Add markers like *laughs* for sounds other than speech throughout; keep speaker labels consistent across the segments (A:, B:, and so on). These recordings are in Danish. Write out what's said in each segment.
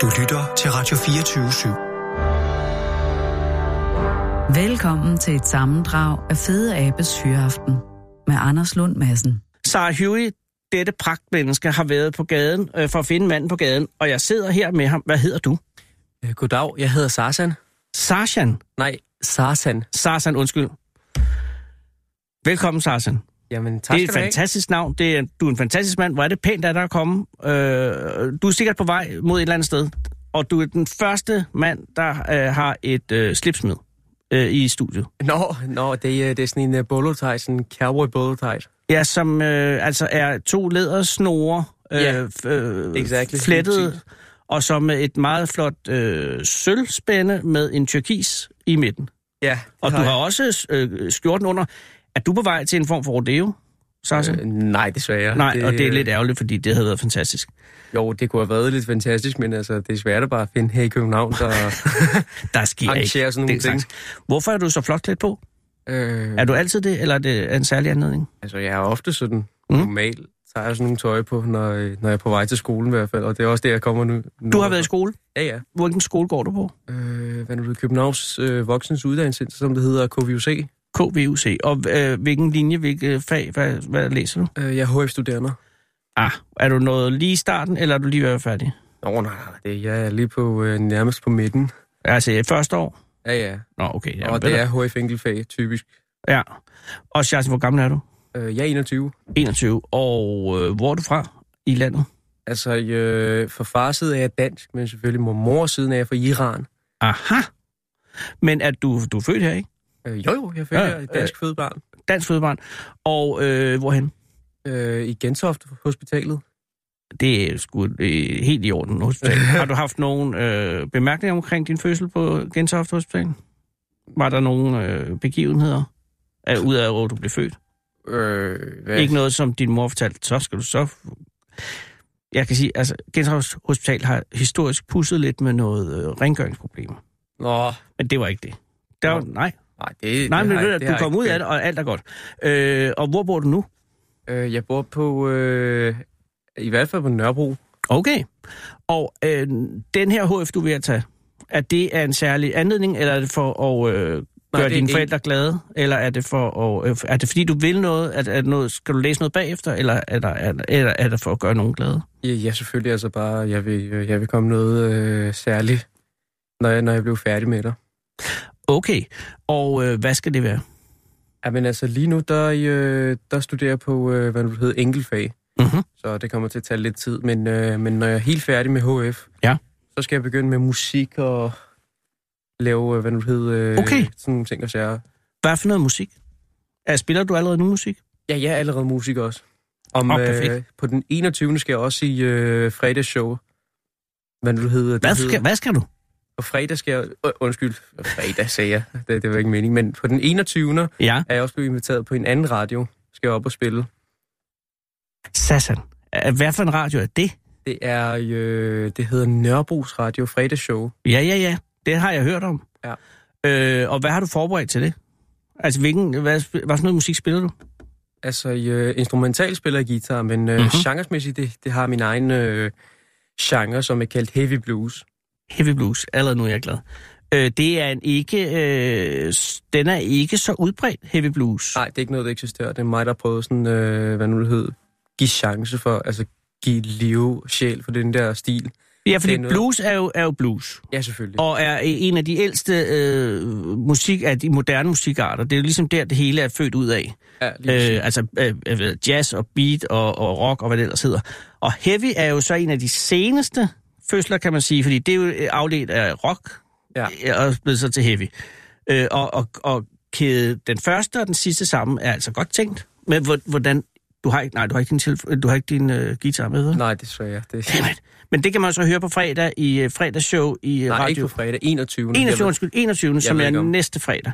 A: Du lytter til Radio 24
B: /7. Velkommen til et sammendrag af Fede Abes Hyreaften med Anders Lund Madsen.
C: Sarah Huey, dette pragtmenneske, har været på gaden øh, for at finde manden på gaden, og jeg sidder her med ham. Hvad hedder du?
D: Øh, goddag, jeg hedder Sarsan.
C: Sarsan?
D: Nej, Sarsan.
C: Sarsan, undskyld. Velkommen, Sarsan.
D: Jamen, tak
C: Det er et fantastisk navn. Det er, du er en fantastisk mand. Hvor er det pænt af dig at komme. Øh, du er sikkert på vej mod et eller andet sted. Og du er den første mand, der øh, har et øh, slips med øh, i studiet.
D: Nå, nå det, er, det er sådan en uh, bolo sådan en cowboy bolo -tight.
C: Ja, som øh, altså er to lædersnore, øh,
D: Ja,
C: øh,
D: exactly.
C: flettet, og som er et meget flot øh, sølvspænde med en tyrkis i midten.
D: Ja. det
C: Og du har
D: jeg.
C: også øh, skjorten under. Er du på vej til en form for rodeo, Sarsen?
D: Øh, nej, desværre.
C: Nej, det, og det er
D: øh,
C: lidt ærgerligt, fordi det havde været fantastisk.
D: Jo, det kunne have været lidt fantastisk, men altså, det er svært at bare finde her i København, der...
C: *laughs* Der sker
D: Arrangere sådan
C: ikke.
D: nogle
C: den
D: ting.
C: slags. Hvorfor er du så flot klædt på?
D: øh,
C: Er du altid det, eller er det en særlig anledning?
D: altså, jeg er ofte sådan
C: Mm.
D: mm. normal, tager jeg sådan nogle tøj på, når, øh, når jeg er på vej til skolen i hvert fald, og det er også det, jeg kommer nu. nu
C: Du har været i skole.
D: Ja, ja.
C: Hvilken skole går du på?
D: Øh, hvad nu, det Københavns øh, Voksens Uddannelsescenter, som det hedder, KVUC.
C: KVUC. Og øh, hvilken linje, hvilket fag, hvad, hvad læser du?
D: Øh, jeg er HF-studerende.
C: Ah, er du noget lige i starten, eller er du lige ved at være færdig?
D: Nå, nej, nej, det, jeg er lige på, øh, nærmest på midten.
C: Altså i første år?
D: Ja, ja.
C: Nå, okay.
D: og det er HF enkeltfag, typisk.
C: Ja. Og Charles, hvor gammel er du?
D: Øh, jeg er 21.
C: 21. Og øh, hvor er du fra i landet?
D: Altså, øh, for fars side er jeg dansk, men selvfølgelig mor mors siden er jeg fra Iran.
C: Aha. Men er du, du er født her, ikke?
D: Øh, jo, jo, jeg føler,
C: Ja,
D: jeg er et dansk øh, fødebarn.
C: Dansk fødebarn. Og øh, hvorhen?
D: Øh, I Gentofte Hospitalet.
C: Det er sgu øh, helt i
D: *laughs*
C: orden hospital. Har du haft nogen øh, bemærkninger omkring din fødsel på Gentofte Hospital? Var der nogen øh, begivenheder? Af, ud af, hvor du blev født?
D: Øh, hvad?
C: Ja. Ikke noget, som din mor fortalte, så skal du så... Jeg kan sige, altså, Gentofte Hospital har historisk pusset lidt med noget øh, rengøringsproblemer.
D: Nå,
C: Men det var ikke det. Der, var, nej,
D: nej, det,
C: nej,
D: det
C: men
D: har
C: ved du,
D: jeg-
C: at
D: det har
C: du
D: jeg
C: kom
D: ikke
C: ud af det, og alt er godt. Øh, og hvor bor du nu?
D: Øh, jeg bor på, øh, i hvert fald på Nørrebro.
C: Okay. Og øh, den her HF, du er ved at tage, er det af en særlig anledning, eller er det for at øh,
D: Nej,
C: gøre
D: det er
C: dine
D: en-
C: forældre glade? Eller er det, for at, øh, er det fordi, du vil noget? Er, er det noget? Skal du læse noget bagefter, eller er, der, er, eller er det for at gøre nogen glade?
D: Ja, ja selvfølgelig, altså bare, jeg vil, øh, jeg vil komme noget øh, særligt, når jeg, når jeg blev færdig med dig.
C: Okay. Og øh, hvad skal det være?
D: Ja, men altså lige nu, der, er I, øh, der studerer jeg på, øh, hvad det hedder, enkeltfag.
C: Mm-hmm.
D: Så det kommer til at tage lidt tid, men, øh, men når jeg er helt færdig med HF,
C: Ja.
D: så skal jeg begynde med musik og lave, øh, hvad nu det hedder, øh,
C: Okay.
D: sådan nogle ting og sager.
C: Hvad for noget musik? Er, spiller du allerede nu musik?
D: Ja, jeg er allerede musik også. Om, øh,
C: Åh, perfekt.
D: på den 21. skal jeg også i øh, fredagsshow. Hvad nu det hedder? det
C: Hvad
D: hedder-
C: skal, hvad skal du?
D: På fredag skal jeg... Øh, undskyld, fredag sagde jeg. Det, det var ikke meningen. Men på den 21. er
C: Ja.
D: jeg også blevet inviteret på en anden radio. Skal jeg op og spille.
C: Sassan. Øh, Hvad for en radio er det?
D: Det er, øh, det hedder Nørrebros Radio fredagsshow.
C: Ja, ja, ja. Det har jeg hørt om.
D: Ja.
C: Øh, og hvad har du forberedt til det? Altså, hvilken, hvad, sp- hvad for noget musik spiller du?
D: Altså, øh, instrumental spiller jeg guitar, men øh,
C: Mhm.
D: genresmæssigt, det, det har min egen øh, genre, som er kaldt heavy blues.
C: Heavy blues. Allerede nu er jeg glad. Øh, det er en ikke, øh, s- den er ikke så udbredt, heavy blues.
D: Nej, det er ikke noget, der eksisterer. Det er mig, der har prøvet sådan, øh, hvad nu det hed, give chance for, altså give liv, sjæl for den der stil.
C: ja, fordi
D: det er
C: er
D: noget-
C: blues er jo, er jo blues.
D: Ja, selvfølgelig.
C: Og er en af de ældste øh, musik, af de moderne musikarter. Det er jo ligesom der, det hele er født ud af.
D: ja, lige
C: Øh, altså øh, jeg ved, jazz og beat og, og rock og hvad det ellers hedder. Og heavy er jo så en af de seneste fødsler, kan man sige, fordi det er jo øh, afledt af rock
D: Ja.
C: ja. og blevet så til heavy. Øh, og, og, og kæde den første og den sidste sammen er altså godt tænkt. Men hvor- hvordan... Du har ikke, nej, du har ikke din, telefon, du har ikke din øh, guitar med, vel?
D: Nej, desværre. Det,
C: Dammit. Men det kan man jo så høre på fredag i øh, fredagsshow i øh,
D: nej, ikke
C: radio.
D: på fredag. 21.
C: 21,
D: Jeg
C: undskyld, 21, som
D: ved
C: er
D: ikke om-
C: næste fredag.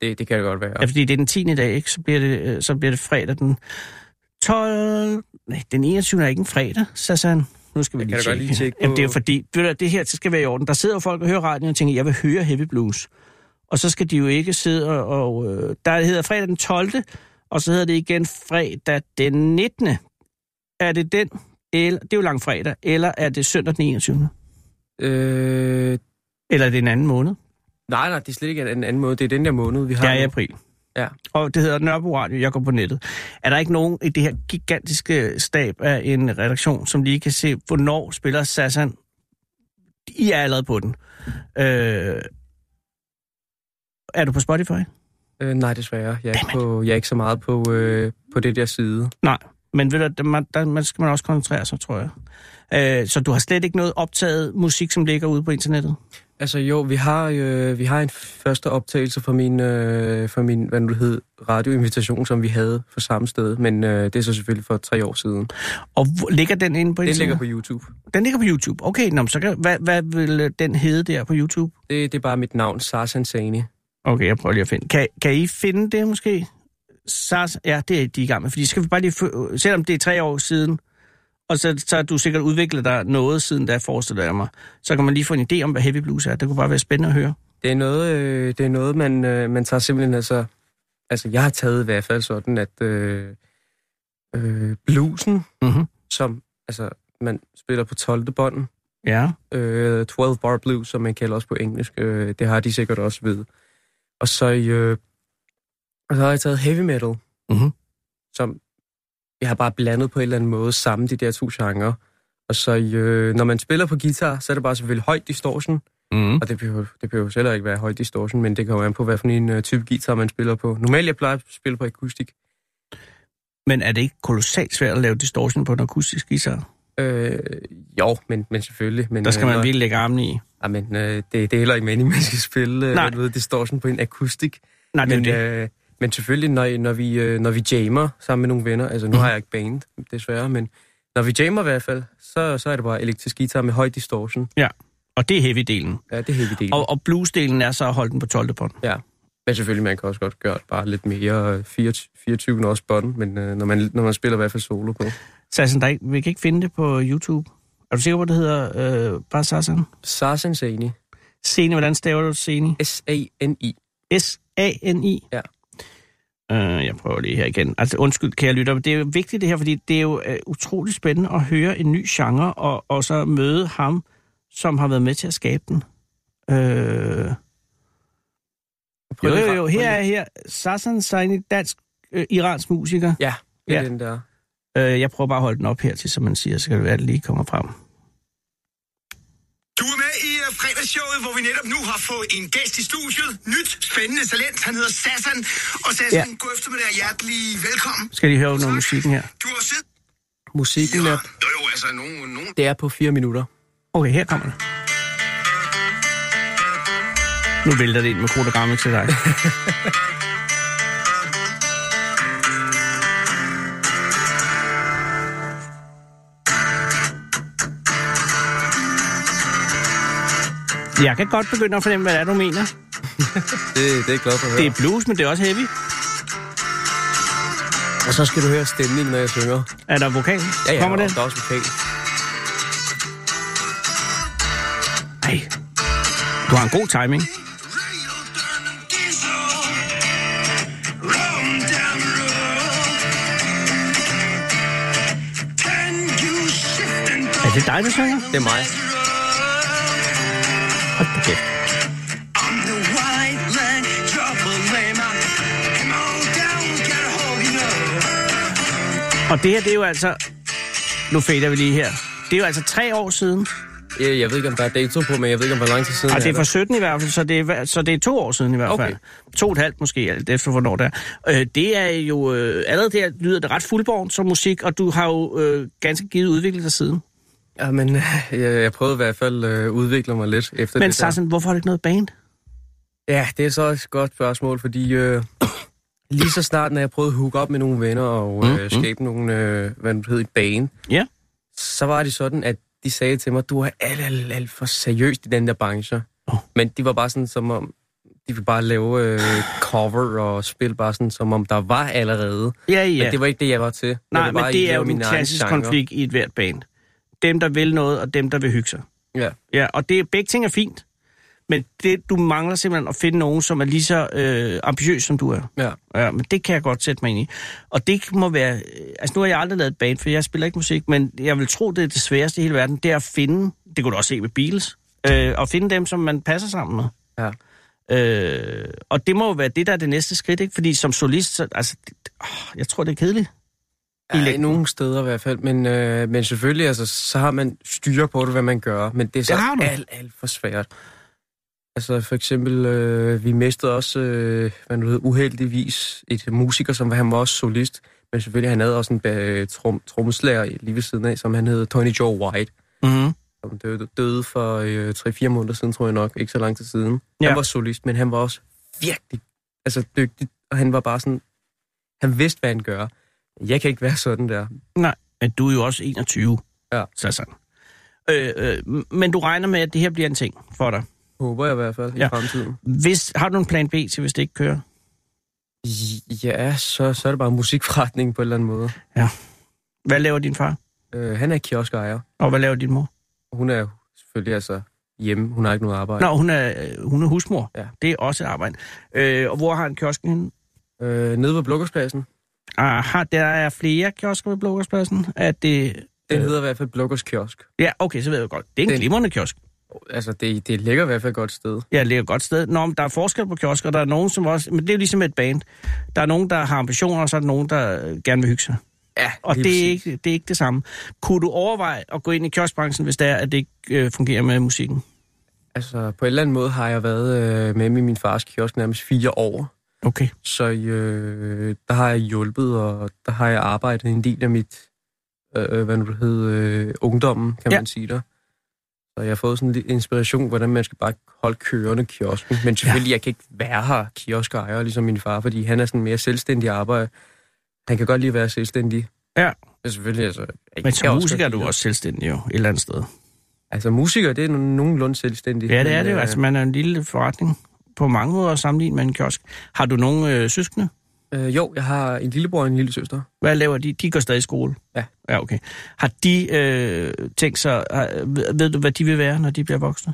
D: ved- Det, det kan det godt være.
C: Ja, fordi det er den 10. i dag, ikke? Så bliver det, øh, så bliver det fredag den 12... Nej, den 21. er ikke en fredag, så sagde han. Nu skal vi
D: Jeg
C: lige
D: kan da
C: tjekke.
D: godt lige tjekke på-
C: Jamen, det er jo fordi, ved du, hvad, det her det skal være i orden. Der sidder jo folk og hører radioen og tænker, jeg vil høre heavy blues. Og så skal de jo ikke sidde og... og øh, der hedder fredag den 12. Og så hedder det igen fredag den 19. Er det den? Eller, det er jo langfredag. Eller er det søndag den 21.
D: Øh,
C: Eller er det en anden måned?
D: nej, nej, det er slet ikke en anden måde. Det er den der måned, vi har.
C: Det er i
D: nu.
C: april.
D: Ja.
C: Og det hedder Nørrebro Radio, jeg går på nettet. Er der ikke nogen i det her gigantiske stab af en redaktion, som lige kan se, hvornår spiller Sassan? I er allerede på den. Øh, er du på Spotify?
D: Øh, nej, desværre. Jeg er, ikke på, jeg er ikke så meget på, øh, på det der side.
C: Nej, men ved du, der, man, der man skal man også koncentrere sig, tror jeg. Øh, så du har slet ikke noget optaget musik, som ligger ude på internettet?
D: Altså jo, vi har, øh, vi har en første optagelse fra min, øh, fra min hvad nu det hed, radioinvitation, som vi havde fra samme sted, men øh, det er så selvfølgelig for tre år siden.
C: Og hvor, ligger den inde på
D: Den ligger
C: internettet?
D: på YouTube.
C: Den ligger på YouTube. Okay, nå, men så kan, hvad, hvad vil øh, den hedde der på YouTube?
D: Det, det er bare mit navn, Sarsan Sani.
C: Okay, jeg prøver lige at finde. Kan, kan I finde det måske? SARS, ja, det er de i gang med, fordi skal vi bare lige, fø- selvom det er tre år siden, og så, så har du sikkert udviklet dig noget siden da, forestiller jeg mig, så kan man lige få en idé om, hvad heavy blues er. Det kunne bare være spændende at høre.
D: Det er noget, øh, det er noget man, øh, man tager simpelthen altså... Altså, jeg har taget i hvert fald sådan, at øh, øh, bluesen,
C: Mm-hmm.
D: som altså, man spiller på 12. bånd,
C: Ja.
D: øh, 12 bar blues, som man kalder også på engelsk, øh, det har de sikkert også ved. Og så, i, øh, og så har jeg taget heavy metal,
C: Mhm.
D: som jeg har bare blandet på en eller anden måde sammen de der to genrer. Og så, i, øh, når man spiller på guitar, så er det bare selvfølgelig højt distortion,
C: Mm.
D: og det behøver, det behøver selv ikke være høj distortion, men det kan jo an på, hvad for en uh, type guitar, man spiller på. Normalt, jeg plejer at spille på akustik.
C: Men er det ikke kolossalt svært at lave distortion på en akustisk guitar?
D: Øh, jo, men, men selvfølgelig. Men,
C: Der skal
D: øh,
C: man
D: når-
C: virkelig lægge armen i.
D: Ah, men, øh, det, det er heller ikke meningen, man skal spille øh,
C: Nej.
D: hvad du ved, distortion på en akustik.
C: Nej, det er
D: men,
C: jo det.
D: Øh, men selvfølgelig, når, når, vi, øh, når vi jammer sammen med nogle venner,
C: Mm.
D: altså nu har jeg ikke band, desværre, men når vi jammer i hvert fald, så, så er det bare elektrisk guitar med høj distortion.
C: Og det er heavy-delen.
D: Ja, det er helt ideen.
C: Og, og blues-delen er så at holde den på 12. bånd.
D: Men selvfølgelig, man kan også godt gøre det bare lidt mere øh, 24, 24 også bånd, men øh, når, man, når man spiller i hvert fald solo på.
C: Sassan, der er ikke, vi kan ikke finde det på YouTube. Er du sikker på, at det hedder øh, bare Sassan?
D: Sarsen Sani.
C: Seni, hvordan staver du Seni?
D: S-A-N-I.
C: S-A-N-I?
D: Ja.
C: Uh, jeg prøver lige her igen. Altså, undskyld, kære lytter, men det er jo vigtigt det her, fordi det er jo uh, utrolig spændende at høre en ny genre, og, og så møde ham, som har været med til at skabe den. Uh,
D: Prøv
C: jo,
D: lige
C: jo,
D: fra-
C: jo,
D: prøv
C: her
D: lige.
C: er her Sassan Saini, dansk-iransk øh, musiker.
D: Ja, det er
C: Ja.
D: den der.
C: Øh, jeg prøver bare at holde den op her til, som man siger, så kan det være, at det lige kommer frem.
E: Du er med i øh, fredagsshowet, hvor vi netop nu har fået en gæst i studiet. Nyt, spændende talent. Han hedder Sassan. Og Sassan,
C: Ja.
E: ja. god eftermiddag og hjertelig velkommen.
C: Skal de høre noget musikken her?
E: Du har siddet...
D: Musikken er,
E: Jo, jo, altså, nogen... nogen...
D: det er på fire minutter.
C: Okay, her kommer det. Nu vælter det ind med krudt og gammel til dig. *laughs* Jeg kan godt begynde at fornemme, hvad det er, du mener.
D: Det, det er jeg glad for at høre.
C: Det er blues, men det er også heavy.
D: Og så skal du høre stemningen, når jeg synger.
C: Er der vokal? kommer
D: og
C: det?
D: Der er også vokal.
C: Ej. Du har en god timing. Er det dig, der synger?
D: Det er mig.
C: Hold da kæft. Og det her, det er jo altså... Nu fader vi lige her. Det er jo altså tre år siden.
D: Jeg, jeg ved ikke, om der er dato på, men jeg ved ikke, om hvor lang tid siden
C: Og Ah, Altså, det er
D: er
C: fra 17 i hvert fald, så det er, hva- så det er to år siden i hvert
D: Okay.
C: fald. To og et halvt måske, alt efter hvornår det er. Øh, det er jo... Øh, allerede der lyder det ret fuldborn som musik, og du har jo øh, ganske givet udviklet dig siden.
D: Ja, men øh, jeg, jeg prøvede i hvert fald at øh, udvikle mig lidt efter
C: Men
D: det der.
C: Sarsen, hvorfor har du ikke noget band?
D: Ja, det er så et godt spørgsmål, fordi øh, lige så snart, når jeg prøvede at hook op med nogle venner og øh, skabe nogle, øh, hvad det hedder, et bane,
C: Mm, Ja.
D: så var det sådan, at de sagde til mig, du er alt, alt, alt for seriøst i den der branche.
C: Åh.
D: Oh. Men de var bare sådan, som om de ville bare lave øh, cover og spille bare sådan, som om der var allerede.
C: Ja,
D: Ja.
C: ja.
D: Men det var ikke det, jeg var til. Jeg
C: Nej,
D: ville
C: men
D: bare
C: det er
D: lave
C: jo den
D: mine egne
C: klassiske
D: genrer.
C: konflikt i et hvert band. Dem, der vil noget, og dem, der vil hygge sig.
D: Ja.
C: Ja, og det, begge ting er fint. Men det, du mangler simpelthen at finde nogen, som er lige så øh, ambitiøs, som du er.
D: ja.
C: Ja, men det kan jeg godt sætte mig ind i. Og det må være... øh, Altså, nu har jeg aldrig lavet et band, for jeg spiller ikke musik, men jeg vil tro, det er det sværeste i hele verden, det er at finde... Det kunne du også se med Beatles. øh, og finde dem, som man passer sammen med.
D: Ja.
C: Øh, og det må jo være det, der er det næste skridt, ikke? Fordi som solist, så, altså, det, åh, jeg tror, det er kedeligt. I
D: Ja, I
C: længden.
D: nogle steder i hvert fald, men, øh, men selvfølgelig, altså, så har man styr på det, hvad man gør, men det er så
C: Det har du.
D: alt, alt for svært. Altså for eksempel, øh, vi mistede også, øh, hvad nu hedder, uheldigvis et musiker, som var, han var også solist, men selvfølgelig, han havde også en øh, trum, trommeslager lige ved siden af, som han hed Tony Joe White,
C: Mm-hmm.
D: som døde, døde for øh, 3-4 måneder siden, tror jeg nok, ikke så lang tid siden. Ja.
C: Ja.
D: Han var solist, men han var også virkelig altså, dygtig, og han var bare sådan, han vidste, hvad han gør. Jeg kan ikke være sådan der.
C: Nej, men du er jo også 21.
D: Ja.
C: Så sådan. Øh, øh, m- men du regner med, at det her bliver en ting for dig.
D: Håber jeg i hvert fald
C: Ja.
D: ja. i fremtiden.
C: Hvis, har du en plan B til, hvis det ikke kører?
D: Ja, så, så er det bare musikforretning på en eller anden måde.
C: Hvad laver din far?
D: Øh, han er kioskejer.
C: Og hvad laver din mor?
D: Hun er jo selvfølgelig altså hjemme. Hun har ikke noget arbejde.
C: Nå, hun er, øh, hun er husmor.
D: Ja.
C: Det er også et arbejde. Øh, og hvor har han kiosken henne?
D: Øh, nede ved Blukkerspladsen.
C: Aha, der er flere kiosker ved Blågårdspladsen. Er det...
D: Den hedder i hvert fald Blukkers Kiosk.
C: Ja, okay, så ved jeg godt. Det er en
D: Den-
C: glimrende kiosk.
D: Altså, det, det ligger i hvert fald et godt sted.
C: Ja, det er et godt sted. Nå, men der er forskel på kiosker. Der er nogen, som også... Men det er jo ligesom et band. Der er nogen, der har ambitioner, og så er der nogen, der øh, gerne vil hygge sig.
D: Ja,
C: Og
D: lige
C: det er,
D: præcis.
C: ikke, det er ikke det samme. Kunne du overveje at gå ind i kioskbranchen, hvis det er, at det ikke øh, fungerer med musikken?
D: Altså, på en eller anden måde har jeg været øh, med i min fars kiosk nærmest fire år.
C: Okay.
D: Så øh, der har jeg hjulpet, og der har jeg arbejdet en del af mit, øh, hvad nu det hed, øh, ungdommen, kan
C: Ja.
D: ja. man sige der. Så jeg har fået sådan lidt inspiration, hvordan man skal bare holde kørende kiosken. Men selvfølgelig, ja. jeg kan ikke være her kioskejer, ligesom min far, fordi han er sådan mere selvstændig arbejde. Han kan godt lige være selvstændig.
C: Ja.
D: Men selvfølgelig, altså... jeg
C: Men
D: kan
C: som
D: også
C: musiker er
D: godt
C: du
D: lide-
C: også selvstændig jo, et eller andet sted.
D: Altså, musiker, det er no- nogenlunde selvstændig.
C: Ja, det er
D: Men,
C: det jo.
D: øh,
C: Altså, man er en lille forretning på mange måder sammenlignet med en kiosk. Har du nogen øh, søskende?
D: Øh, jo, jeg har en lillebror og en lille søster.
C: Hvad laver de? De går stadig i skole.
D: Ja.
C: Ja, okay. Har de øh, tænkt sig... Har, ved, ved du, hvad de vil være, når de bliver voksne?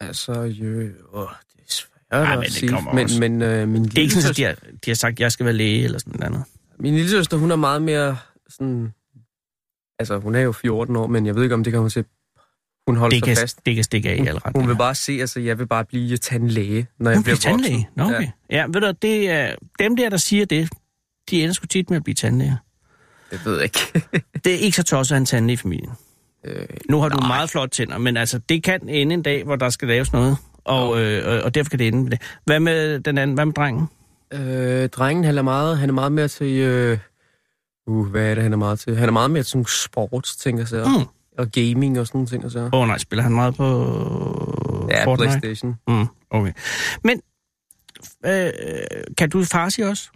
D: Altså, jo, åh, det er svært Ej,
C: men
D: at
C: det
D: sige.
C: kommer
D: men,
C: også.
D: men øh, min,
C: Det er ikke sådan,
D: lillesøster,
C: at de har, de har sagt, at jeg skal være læge eller sådan noget andet.
D: min lillesøster, hun er meget mere sådan... Altså, hun er jo 14 år, men jeg ved ikke, om det kommer til... Hun holder
C: Det
D: sig
C: kan,
D: fast.
C: det kan stikke af i alle retninger.
D: Hun vil bare se, altså, jeg vil bare blive tandlæge, når jeg
C: Hun bliver
D: bliver voksen.
C: tandlæge? Nå, okay. Ja. ja, ved du, det er, dem der, der siger det, de ender sgu tit med at blive tandlæger.
D: Det ved jeg ikke. *laughs*
C: Det er ikke så tosset at have en tandlæge i familien.
D: øh,
C: Nu har Nej. du meget flot tænder, men altså, det kan ende en dag, hvor der skal laves noget. Og, øh, øh, og derfor kan det ende med det. Hvad med den anden? Hvad med drengen?
D: øh, drengen, han er meget, han er meget mere til... Øh, uh, hvad er det, han er meget til? Han er meget mere til sådan sports, tænker jeg.
C: Åh
D: Mm.
C: mm.
D: Og gaming og sådan nogle ting, og så.
C: oh, nej, spiller han meget på
D: Ja,
C: Fortnite?
D: Playstation.
C: Mm, okay. Men øh, kan du farsi også?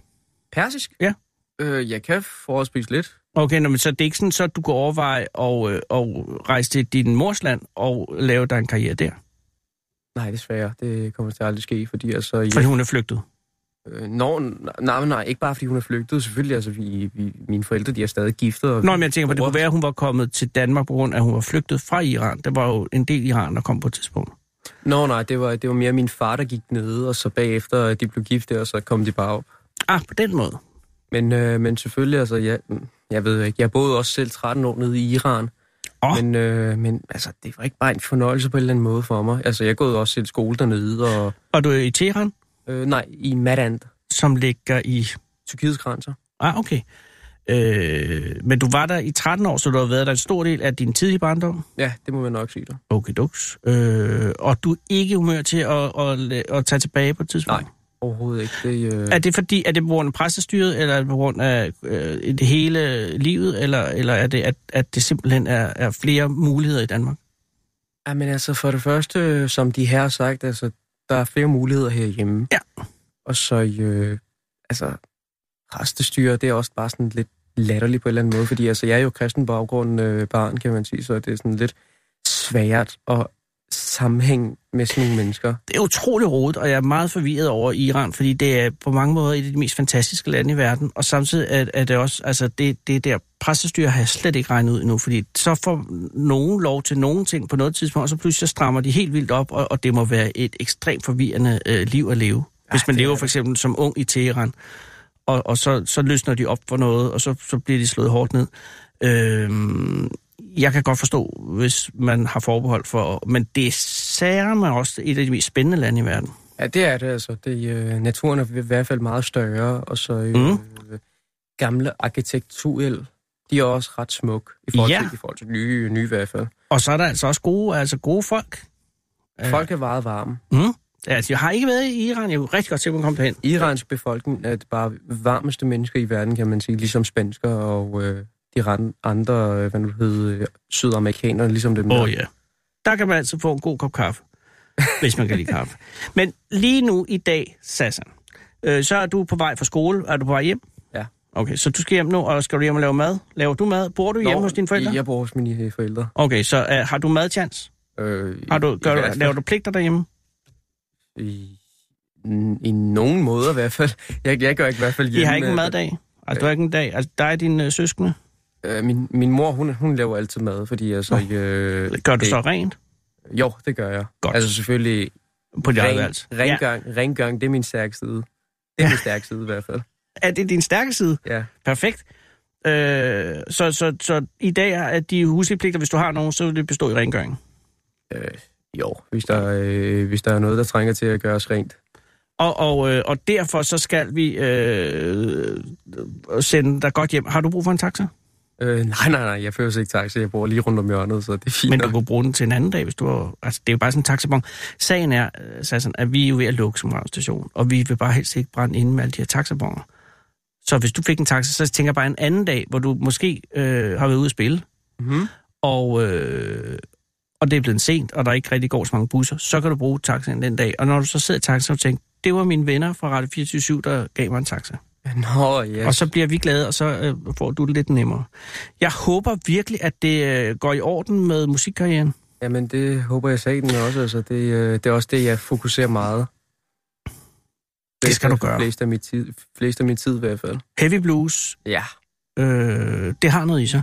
D: Persisk?
C: Ja.
D: Øh, jeg kan forholdsvis lidt.
C: Okay, nå, men så det er ikke sådan, så du kan overveje at, øh, at rejse til din mors land og lave dig en karriere der?
D: Nej, desværre. Det kommer til at aldrig ske, fordi altså... Ja,
C: Fordi hun er flygtet?
D: øh, når, nej, men nej, ikke bare fordi hun er flygtet. Selvfølgelig, altså, vi, vi, mine forældre, de er stadig giftet. Og
C: Nå, men jeg tænker på, det
D: bor-
C: kunne være, at hun var kommet til Danmark på grund af, at hun var flygtet fra Iran. Der var jo en del Iran, der kom på et tidspunkt.
D: Nå, nej, det var, det var mere min far, der gik ned, og så bagefter, at de blev gift der, og så kom de bare op.
C: Ah, på den måde.
D: Men, øh, men selvfølgelig, altså, jeg, jeg ved ikke, jeg boede også selv 13 år nede i Iran.
C: Åh.
D: Men, øh, men altså, det var ikke bare en fornøjelse på en eller anden måde for mig. Altså, jeg gåede også selv skole dernede, og...
C: Og du er i Teheran,
D: Øh, nej, i Madand,
C: som ligger i...
D: Tyrkiets grænser.
C: Ah, okay. Øh, men du var der i 13 år, så du har været der en stor del af din tidlige barndom.
D: Ja, det må man nok sige dig.
C: Okay, duks. Øh, og du er ikke i humør til at, at, at, at tage tilbage på et tidspunkt?
D: Nej. Overhovedet ikke. Det, øh...
C: Er det fordi, er det på grund af præstestyret, eller er det på grund af øh, det hele livet, eller, eller er det, at, at det simpelthen er, er flere muligheder i Danmark?
D: Ja, men altså for det første, øh, som de her har sagt, altså, der er flere muligheder herhjemme.
C: Ja.
D: Og så, øh, altså, præstestyre, det er også bare sådan lidt latterligt på en eller anden måde, fordi altså, jeg er jo kristen baggrund øh, barn, kan man sige, så det er sådan lidt svært at sammenhæng med sådan nogle mennesker.
C: det er utrolig rodet, og jeg er meget forvirret over Iran, fordi det er på mange måder et af de mest fantastiske lande i verden, og samtidig er, er det også, altså det, det der præstestyre har jeg slet ikke regnet ud endnu, fordi så får nogen lov til nogen ting på noget tidspunkt, og så pludselig så strammer de helt vildt op, og, og det må være et ekstremt forvirrende øh, liv at leve. Hvis man lever for eksempel som ung i Teheran, og, og så, så løsner de op for noget, og så, så bliver de slået hårdt ned. Øhm, jeg kan godt forstå, hvis man har forbehold for... Men det er særlig også et af de mest spændende lande i verden.
D: Ja, det er det altså. Det, øh, naturen er i hvert fald meget større, og så øh, mm. gamle arkitekturel, de er også ret smuk i forhold,
C: Ja.
D: ja. til, i forhold til nye, nye i hvert fald.
C: Og så er der altså også gode, altså gode folk. Øh,
D: Ja. Folk er meget varme.
C: Mm. Altså, jeg har ikke været i Iran. Jeg kunne rigtig godt se, at man kom derhen.
D: Irans befolkning er det bare varmeste mennesker i verden, kan man sige, ligesom spansker og øh, de ran- andre, øh, hvad nu hedder, øh, sydamerikanere, ligesom dem
C: Åh
D: der.
C: oh, ja. Der kan man altid få en god kop kaffe, hvis man kan lide
D: *laughs*
C: kaffe. Men lige nu i dag, Sassan, øh, så er du på vej fra skole. Er du på vej hjem?
D: Ja.
C: Okay, så du skal hjem nu, og skal du hjem og lave mad? Laver du mad? Bor du
D: Nå,
C: hjemme hos dine forældre?
D: Jeg bor hos mine øh, forældre.
C: Okay, så øh, har du madchance?
D: Øh,
C: Har du,
D: i,
C: gør
D: i,
C: du,
D: hvert fald-
C: laver du pligter derhjemme?
D: I, I nogen måder i hvert fald. Jeg, jeg gør ikke i hvert fald hjemme.
C: I har ikke en
D: øh,
C: maddag? Altså, du har ikke en dag? Altså, dig og dine øh, søskende?
D: Øh, min, min mor, hun, hun laver altid mad, fordi altså... Øh,
C: Gør du
D: det,
C: så rent?
D: Jo, det gør jeg.
C: Godt.
D: Altså selvfølgelig...
C: På dit eget
D: Ren,
C: værelse? Ja.
D: rengøring, ja. rengøring, det er min stærke side. Det er min stærke side i hvert fald.
C: Er det din stærke side?
D: Ja.
C: Perfekt. Øh, så, så, så i dag er de husligpligter, hvis du har nogen, så vil det bestå i rengøring.
D: Øh, jo, hvis der, øh, hvis der er noget, der trænger til at gøres rent.
C: Og, og, øh, og derfor så skal vi øh, sende dig godt hjem. Har du brug for en taxa?
D: Øh, nej, nej, nej, jeg fører ikke taxa, jeg bor lige rundt om hjørnet, så det er fint.
C: Men du
D: nok.
C: kunne bruge den til en anden dag, hvis du har... Altså, det er jo bare sådan en taxabon. Sagen er, øh, Sassan, at vi er jo ved at lukke som station, og vi vil bare helst ikke brænde inde med alle de her taxabonger. Så hvis du fik en taxa, så tænker jeg bare en anden dag, hvor du måske øh, har været ude at spille,
D: Mhm.
C: og, øh, og det er blevet sent, og der ikke rigtig går så mange busser, så kan du bruge taxaen den dag. Og når du så sidder i taxaen, så tænker det var mine venner fra Radio 24 der gav mig en taxa.
D: Nå, ja.
C: Og så bliver vi glade, og så øh, får du det lidt nemmere. Jeg håber virkelig, at det øh, går i orden med musikkarrieren.
D: Jamen, det håber jeg sagde den også. Altså, det, øh, det er også det, jeg fokuserer meget.
C: Det skal du gøre.
D: Flest af min tid, flest af min tid i hvert fald.
C: Heavy blues,
D: Ja.
C: øh, det har noget i sig.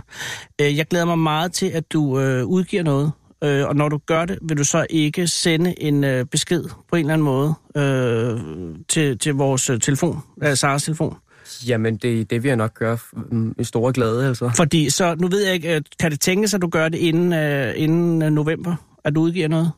C: Øh, jeg glæder mig meget til, at du øh, udgiver noget. Øh, og når du gør det, vil du så ikke sende en øh, besked på en eller anden måde øh, til, til vores øh, telefon, øh, Saras telefon.
D: Jamen, det, det vil jeg nok gøre mm, i store glæde, altså.
C: Fordi så, nu ved jeg ikke, øh, kan det tænkes, at du gør det inden, øh, inden øh, november, at du udgiver noget,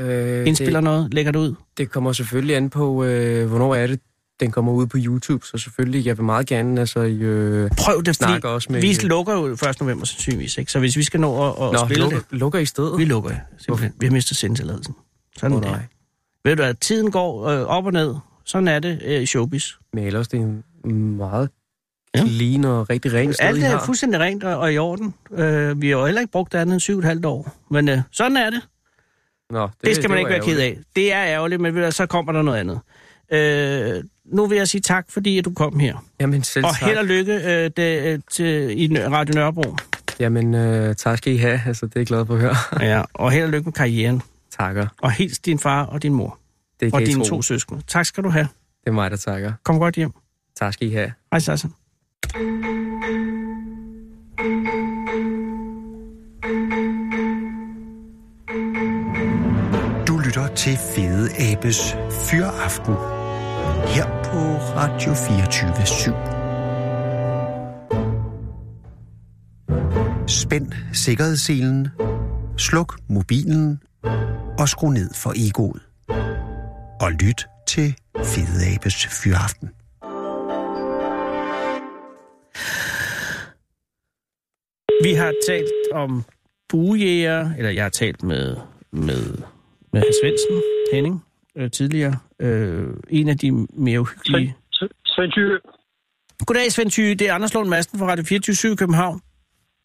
D: Øh,
C: indspiller
D: det,
C: noget, lægger det ud?
D: det kommer selvfølgelig an på, øh, hvornår er det, den kommer ud på YouTube, så selvfølgelig, jeg vil meget gerne, altså, i, øh,
C: Prøv det, fordi
D: snakke også med...
C: vi lukker jo 1. november sandsynligvis, ikke? Så hvis vi skal nå at, at
D: Nå,
C: spille
D: lukker,
C: det,
D: lukker i stedet?
C: vi lukker simpelthen. Vi har mistet sendtilladelsen. Sådan
D: Åh,
C: er
D: nej.
C: det. Ved du hvad, tiden går øh, op og ned. Sådan er det øh, i showbiz.
D: Men ellers, det er en meget
C: Ja.
D: clean og rigtig rent sted,
C: Alt
D: I
C: er
D: har.
C: fuldstændig rent og, og i orden. Øh, vi har jo heller ikke brugt det andet end syv og et halvt år. Men øh, sådan er det.
D: Nå, det,
C: Det skal man
D: var
C: ikke være ked
D: ærgerligt.
C: af. Det er ærgerligt, men ved du hvad, så kommer der noget andet. Øh, nu vil jeg sige tak, fordi at du kom her.
D: Jamen, selv
C: Og
D: tak.
C: held og lykke øh, det, øh, til, i Nø- Radio
D: *laughs*
C: Nørrebro.
D: Jamen, øh, tak skal I have. Altså, det er jeg glad for at høre. *laughs*
C: Ja, og held og lykke med karrieren.
D: Takker.
C: Og hils din far og din mor.
D: Det
C: Og
D: kan I
C: dine
D: tro.
C: to søskende. Tak skal du have.
D: Det er mig, der takker.
C: Kom godt hjem.
D: Tak skal I have.
C: Hej, Sassan.
A: Du lytter til Fede Abes Fyraften her på Radio 24 7. Spænd sikkerhedsselen, sluk mobilen og skru ned for egoet. Og lyt til Fede Abes Fyraften.
C: Vi har talt om bujæger, eller jeg har talt med, med, med Hans Svendsen, Henning, øh, tidligere. Øh, en af de mere uhyggelige.
F: Svend- Svend Thyre.
C: Goddag, Svend Thyge. Det er Anders Lund Madsen fra Radio 24 i København.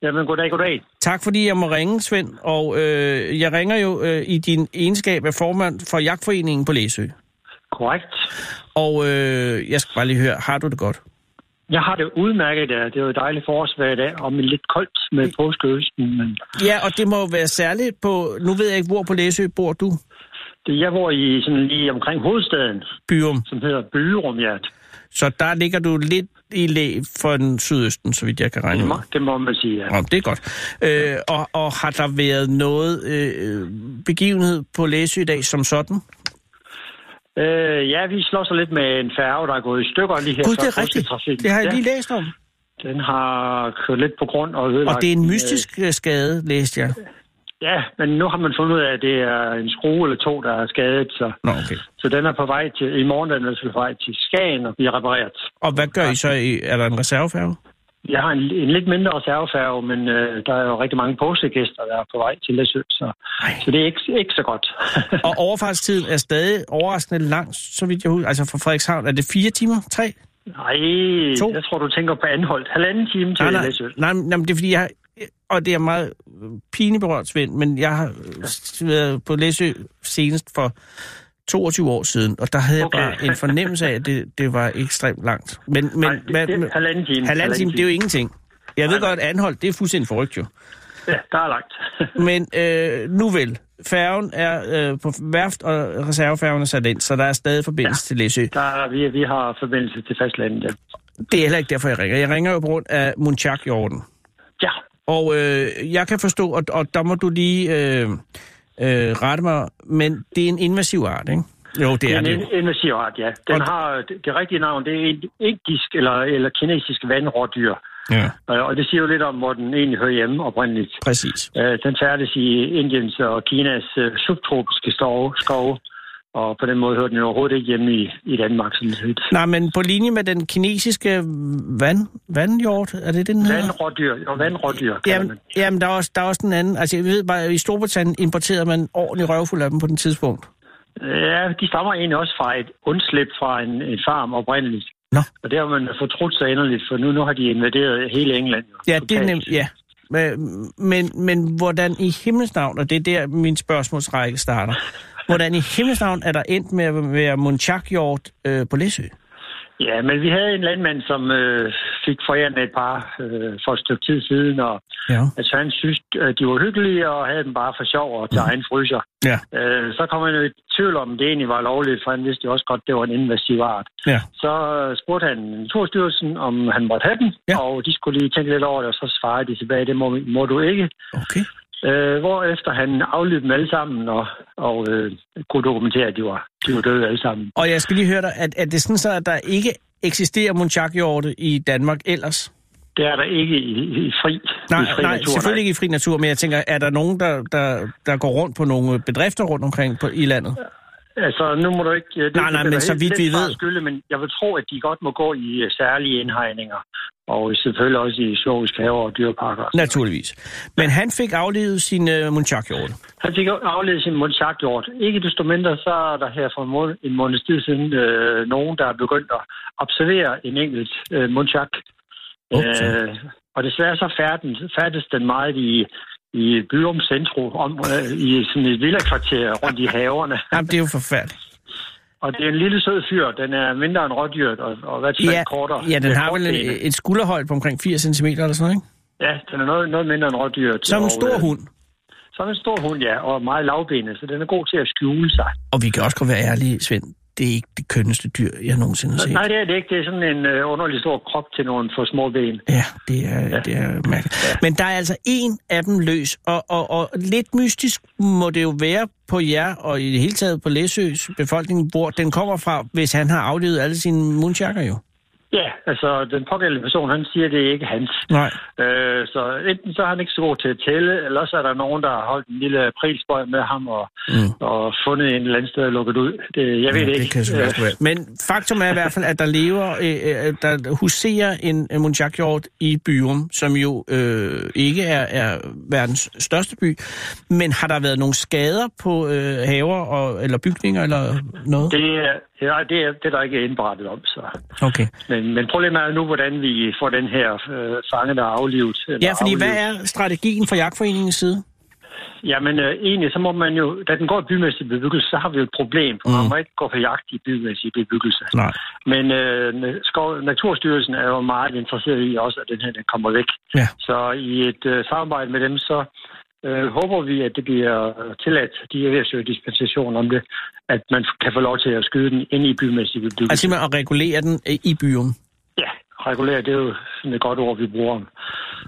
F: Jamen, goddag, goddag.
C: Tak, fordi jeg må ringe, Svend. Og øh, jeg ringer jo øh, i din egenskab af formand for Jagtforeningen på Læsø.
F: Korrekt.
C: Og øh, jeg skal bare lige høre, har du det godt?
F: Jeg har det udmærket, ja. det er jo et dejligt forårsvejr i dag, og men lidt koldt med påskeøsten, men
C: Ja, og det må jo være særligt på... Nu ved jeg ikke, hvor på Læsø bor du.
F: det, jeg bor i sådan lige omkring hovedstaden,
C: Byrum.
F: som hedder Byrum, ja.
C: Så der ligger du lidt i læ for den sydøsten, så vidt jeg kan regne
F: Det
C: ud.
F: må, det må man sige, ja.
C: Nå, det er godt. Øh, og, og har der været noget øh, begivenhed på Læsø i dag som sådan?
F: Øh, ja, vi slås lidt med en færge, der er gået i stykker lige her.
C: Gud, det
F: fra
C: er rigtigt.
F: påsketrafikken.
C: Det har jeg
F: ja,
C: lige læst om.
F: Den har kørt lidt på grund og ødelagt...
C: Og det er en
F: øh,
C: mystisk øh, skade, læste jeg.
F: Ja, men nu har man fundet ud af, at det er en skrue eller to, der er skadet, så,
C: Nå, okay.
F: så den er på vej til... I morgen er den altså på vej til Skagen og bliver repareret.
C: Og hvad gør I så? I- Er der en reservefærge?
F: Jeg har en, en lidt mindre reservefærge, men øh, der er jo rigtig mange påskegæster, der er på vej til Læsø, så, så det er ikke, ikke så godt. *laughs*
C: Og overfartstiden er stadig overraskende lang, så vidt jeg husker. Altså fra Frederikshavn, er det fire timer? Tre?
F: nej,
C: To.
F: jeg tror, du tænker på anholdt. Halvanden time til
C: Nej, nej,
F: Læsø.
C: nej, men- nej, men det er fordi, jeg og det er meget øh, pineberørt, Svend, men jeg har øh, været på Læsø senest for 22 år siden, og der havde jeg
F: Okay.
C: bare en fornemmelse af, at det, det var ekstremt langt. Men, men
F: Nej, det,
C: hvad-
F: det, halvanden time.
C: halvanden time, det er jo ingenting. Jeg ved godt, at Anholdt, det er fuldstændig forrygt jo.
F: Ja, der er langt. *laughs*
C: Men øh, nu vel, færgen er øh, på værft, og reservefærgen er sat ind, så der er stadig forbindelse ja. til Læsø.
F: der er, vi, vi har forbindelse til fastlandet. ja.
C: Det er heller ikke derfor, jeg ringer. Jeg ringer jo på grund af Munchak-jorden.
F: Ja,
C: Og øh, jeg kan forstå, og, og der må du lige øh, øh, rette mig, men det er en invasiv art, ikke? Jo, det
F: det
C: er
F: er
C: det.
F: en
C: jo.
F: invasiv art, ja. Den
C: Og-
F: har det, det rigtige navn, det er en indisk eller, eller kinesisk vandrådyr.
C: Ja,
F: Og og det siger jo lidt om, hvor den egentlig hører hjemme oprindeligt.
C: præcis.
F: Øh, Den færdes i Indiens og Kinas øh, subtropiske skove, skove, og på den måde hører den jo overhovedet ikke hjemme i, i Danmark. Sådan set.
C: Nej, men på linje med den kinesiske vand, vandhjort, er det det, den hedder?
F: Vandrådyr, jo vandrådyr kalder
C: Jamen,
F: man.
C: jamen der, er også, der er også den anden. Altså, jeg ved bare, at i Storbritannien importerede man ordentlig røvfuld af dem på den tidspunkt.
F: Ja, de stammer egentlig også fra et undslip fra en, en farm oprindeligt.
C: Nå.
F: Og det har man fortrudt så inderligt, for nu, nu har de invaderet hele England. jo.
C: Ja, det er
F: Totalt.
C: nemt, ja. Men, men, men hvordan i himlens navn, og det er der, min spørgsmålsrække starter, hvordan i himlens navn er der endt med at være munchak-hjort øh, på Læsø?
F: Ja, men vi havde en landmand, som øh, fik forærende et par øh, for et stykke tid siden, og
C: Ja.
F: Altså, han synes, at de var hyggelige, og havde dem bare for sjov og til
C: Mm.
F: egen fryser.
C: Ja.
F: Øh, så kom han jo i tvivl om, det egentlig var lovligt, for han vidste jo også godt, det var en invasiv art.
C: Ja.
F: Så øh, spurgte han Naturstyrelsen, om han måtte have den,
C: Ja.
F: og de skulle lige tænke lidt over det, og så svarede de tilbage, det må, må du ikke.
C: Okay.
F: Øh, hvorefter han aflevede dem alle sammen, og, og øh, kunne dokumentere, at de var, de var døde alle sammen.
C: Og jeg skal lige høre dig, at, at det er sådan så, at der ikke eksisterer munchak-hjorte i Danmark ellers?
F: Det er der ikke i, i fri, i
C: Nej,
F: fri
C: nej
F: natur.
C: selvfølgelig ikke i fri natur, men jeg tænker, er der nogen, der, der, der går rundt på nogle bedrifter rundt omkring på, i landet?
F: Altså, nu må du ikke... øh, Det,
C: Nej, nej,
F: det er
C: men
F: da
C: så
F: helt
C: vidt
F: let
C: vi
F: fra
C: ved.
F: at Skylde, men jeg vil tro, at de godt må gå i øh, særlige indhegninger. Og selvfølgelig også i zoologiske haver og dyreparker.
C: Naturligvis. Men han fik aflevet sin øh, munchak-hjorte.
F: Han fik afledt sin mundsagtjort. Ikke desto mindre, så er der her for en, måned, en måneds tid siden øh, nogen, der er begyndt at observere en enkelt øh, mundsak.
C: Okay.
F: Øh, og desværre så færden, færdes den meget i, i Byrum Centrum, om, øh, i sådan et villakvarter rundt i haverne.
C: Jamen, det er jo forfærdeligt.
F: Og det er en lille sød fyr. Den er mindre end rådyret, og, og i hvert fald
C: Ja,
F: kortere.
C: ja, den
F: Med
C: har vel
F: forbenene.
C: en- et skulderhøjde på omkring 4 cm eller sådan noget, ikke?
F: Ja, den er noget, noget mindre end rådyret.
C: Som en
F: og,
C: stor
F: øh,
C: hund.
F: Som en stor hund, ja, og meget lavbenet, så den er god til at skjule sig.
C: Og vi kan også godt være ærlige, Svend. Det er ikke det kønneste dyr, jeg nogensinde har set.
F: Nej, det er det ikke. Det er sådan en øh, underlig stor krop til nogle for små ben.
C: Ja, det er, ja. det er mærkeligt. Men der er altså en af dem løs, og, og, og lidt mystisk må det jo være på jer, og i det hele taget på Læsøs befolkning, hvor den kommer fra, hvis han har aflevet alle sine mundjakker jo.
F: Ja, altså den pågældende person, han siger, det er ikke hans.
C: Nej.
F: Øh, så enten så er han ikke så god til at tælle, eller så er der nogen, der har holdt en lille aprilspøj med ham og,
C: Mm.
F: og fundet en eller anden sted og lukket ud. Det, jeg ved
C: Ja,
F: det ikke.
C: det kan selvfølgelig
F: Øh,
C: også være. Men faktum er i hvert fald, at der lever, øh, øh, der huserer en øh, munchakjord i Byrum, som jo øh, ikke er, er verdens største by. Men har der været nogle skader på øh, haver og, eller bygninger eller noget?
F: Øh, det, er, ja, det, er, det er der ikke indberettet om, så...
C: Okay.
F: Men, men problemet er jo nu, hvordan vi får den her øh, fange, der er aflivet. eller
C: Ja, fordi hvad
F: aflivet.
C: er strategien fra jagtforeningens side?
F: Jamen øh, egentlig, så må man jo... Da den går i bymæssig bebyggelse, så har vi jo et problem.
C: Mm.
F: For Man må ikke gå på jagt i bymæssig bebyggelse.
C: Nej.
F: Men øh, na- skov, Naturstyrelsen er jo meget interesseret i også, at den her den kommer væk.
C: Ja.
F: Så i et øh, samarbejde med dem, så øh, håber vi, at det bliver øh, tilladt, de er ved at søge dispensation om det, at man kan få lov til at skyde den ind i bymæssig bebyggelse.
C: Altså simpelthen at regulere den øh, i byen.
F: Ja, regulær, det er jo sådan et godt ord, vi bruger om,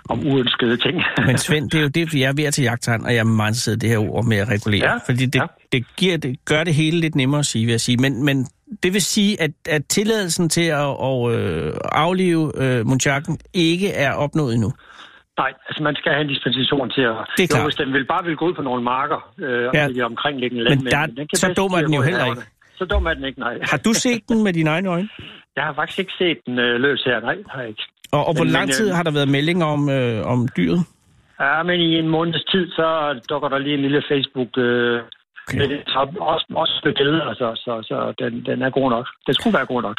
F: om uønskede ting.
C: Men Svend, det er jo det, fordi jeg er ved at til jagttegn, og jeg er meget interesseret i det her ord med at regulere.
F: Ja,
C: fordi det,
F: ja.
C: det, giver, det gør det hele lidt nemmere at sige, vil jeg sige. Men, men Det vil sige, at, at tilladelsen til at, at øh, aflive øh, munchakken ikke er opnået endnu.
F: *laughs* Nej, altså man skal have en dispensation til at...
C: Det er klart.
F: Jo, hvis den vil bare vil gå ud på nogle marker øh,
C: Ja.
F: ja. i de omkringliggende
C: Men
F: land.
C: der- så dum er den jo heller ikke.
F: Så dum er den ikke, nej.
C: Har du set den med dine egne øjne?
F: Jeg har faktisk ikke set den øh, løs her, nej, har jeg ikke.
C: Og, og hvor
F: Men-
C: lang
F: men,
C: tid
F: øh,
C: har der været meldinger om, øh, om dyret?
F: Ja, men i en måneds tid, så dukker der lige en lille Facebook... Øh,
C: Okay.
F: okay. med det, top, også, også med billeder, så, så, så den, den er god nok. Den skulle være god nok.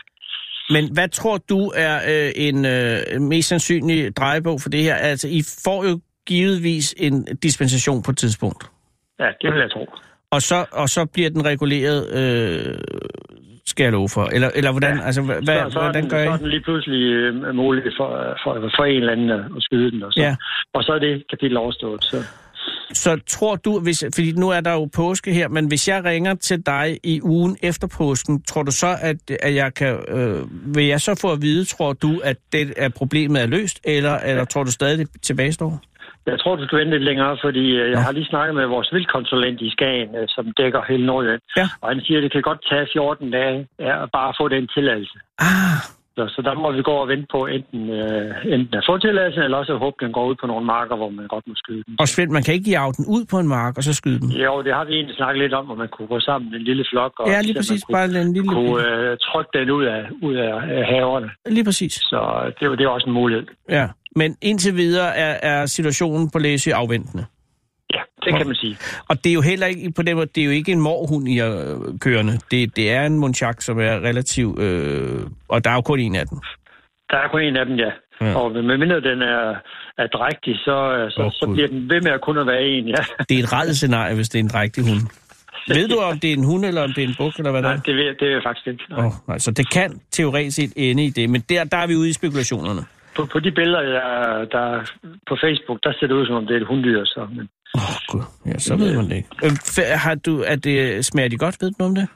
C: Men hvad tror du er øh, en øh, mest sandsynlig drejebog for det her? Altså, I får jo givetvis en dispensation på et tidspunkt.
F: Ja, det vil jeg tro.
C: Og så, og så bliver den reguleret, øh, skal jeg love for. Eller, eller hvordan, ja. altså, hva,
F: så,
C: hvad,
F: så, er
C: hvordan
F: den,
C: gør
F: så er
C: I?
F: den lige pludselig øh, mulig for, for, for en eller anden at skyde den. Og så,
C: Ja.
F: ja. og så er det kapitel overstået. Så.
C: Så tror du, hvis, fordi nu er der jo påske her, men hvis jeg ringer til dig i ugen efter påsken, tror du så, at, at jeg kan, øh, vil jeg så få at vide, tror du, at det er problemet er løst, eller, eller tror du stadig det tilbage står?
F: Jeg tror, du skal vente lidt længere, fordi øh, jeg har lige snakket med vores vildkonsulent i Skagen, øh, som dækker hele Nordjylland.
C: Ja.
F: Og han siger, at det kan godt tage 14 dage ja, at bare få den tilladelse.
C: Ah,
F: Så, så der må vi gå og vente på enten, øh, enten at få tilladelsen, eller også at håbe, den går ud på nogle marker, hvor man godt må skyde den.
C: og Svend, man kan ikke jage den ud på en mark og så skyde den.
F: Jo, det har vi egentlig snakket lidt om, at man kunne gå sammen med en lille flok, og
C: Ja, lige
F: se, om
C: præcis,
F: man
C: bare en lille...
F: kunne, kunne øh, trykke den ud af, ud af øh, haverne.
C: Lige præcis,
F: Så det, var- det er også en mulighed.
C: ja. Men indtil videre er, er situationen på Læsø afventende.
F: Ja, det kan man sige.
C: Og det er jo heller ikke på den måde, det er jo ikke en morhund i øh, kørende. Det, det er en munchak, som er relativ... Øh, og der er jo kun en af dem.
F: Der er kun en af dem, ja.
C: Ja.
F: ja. Og medmindre den er, er drægtig, så, øh, så,
C: Åh,
F: oh, så
C: Gud.
F: bliver den ved med at kun at være en, ja.
C: Det er et ret scenarie, hvis det er en drægtig hund. Ved du, om det er en hund, eller om det er en buk, eller hvad det
F: Nej,
C: er?
F: det ved, jeg- det ved jeg faktisk ikke. Nej.
C: Oh, altså, det kan teoretisk set ende i det, men der, der er vi ude i spekulationerne.
F: På, på de billeder, der, der på Facebook, der ser det ud, som om det er et hunddyr. Så. Men,
C: Åh, oh, gud. Ja, så ved man det ikke. Øh, fa- har du, er det, smager de godt, ved du om det?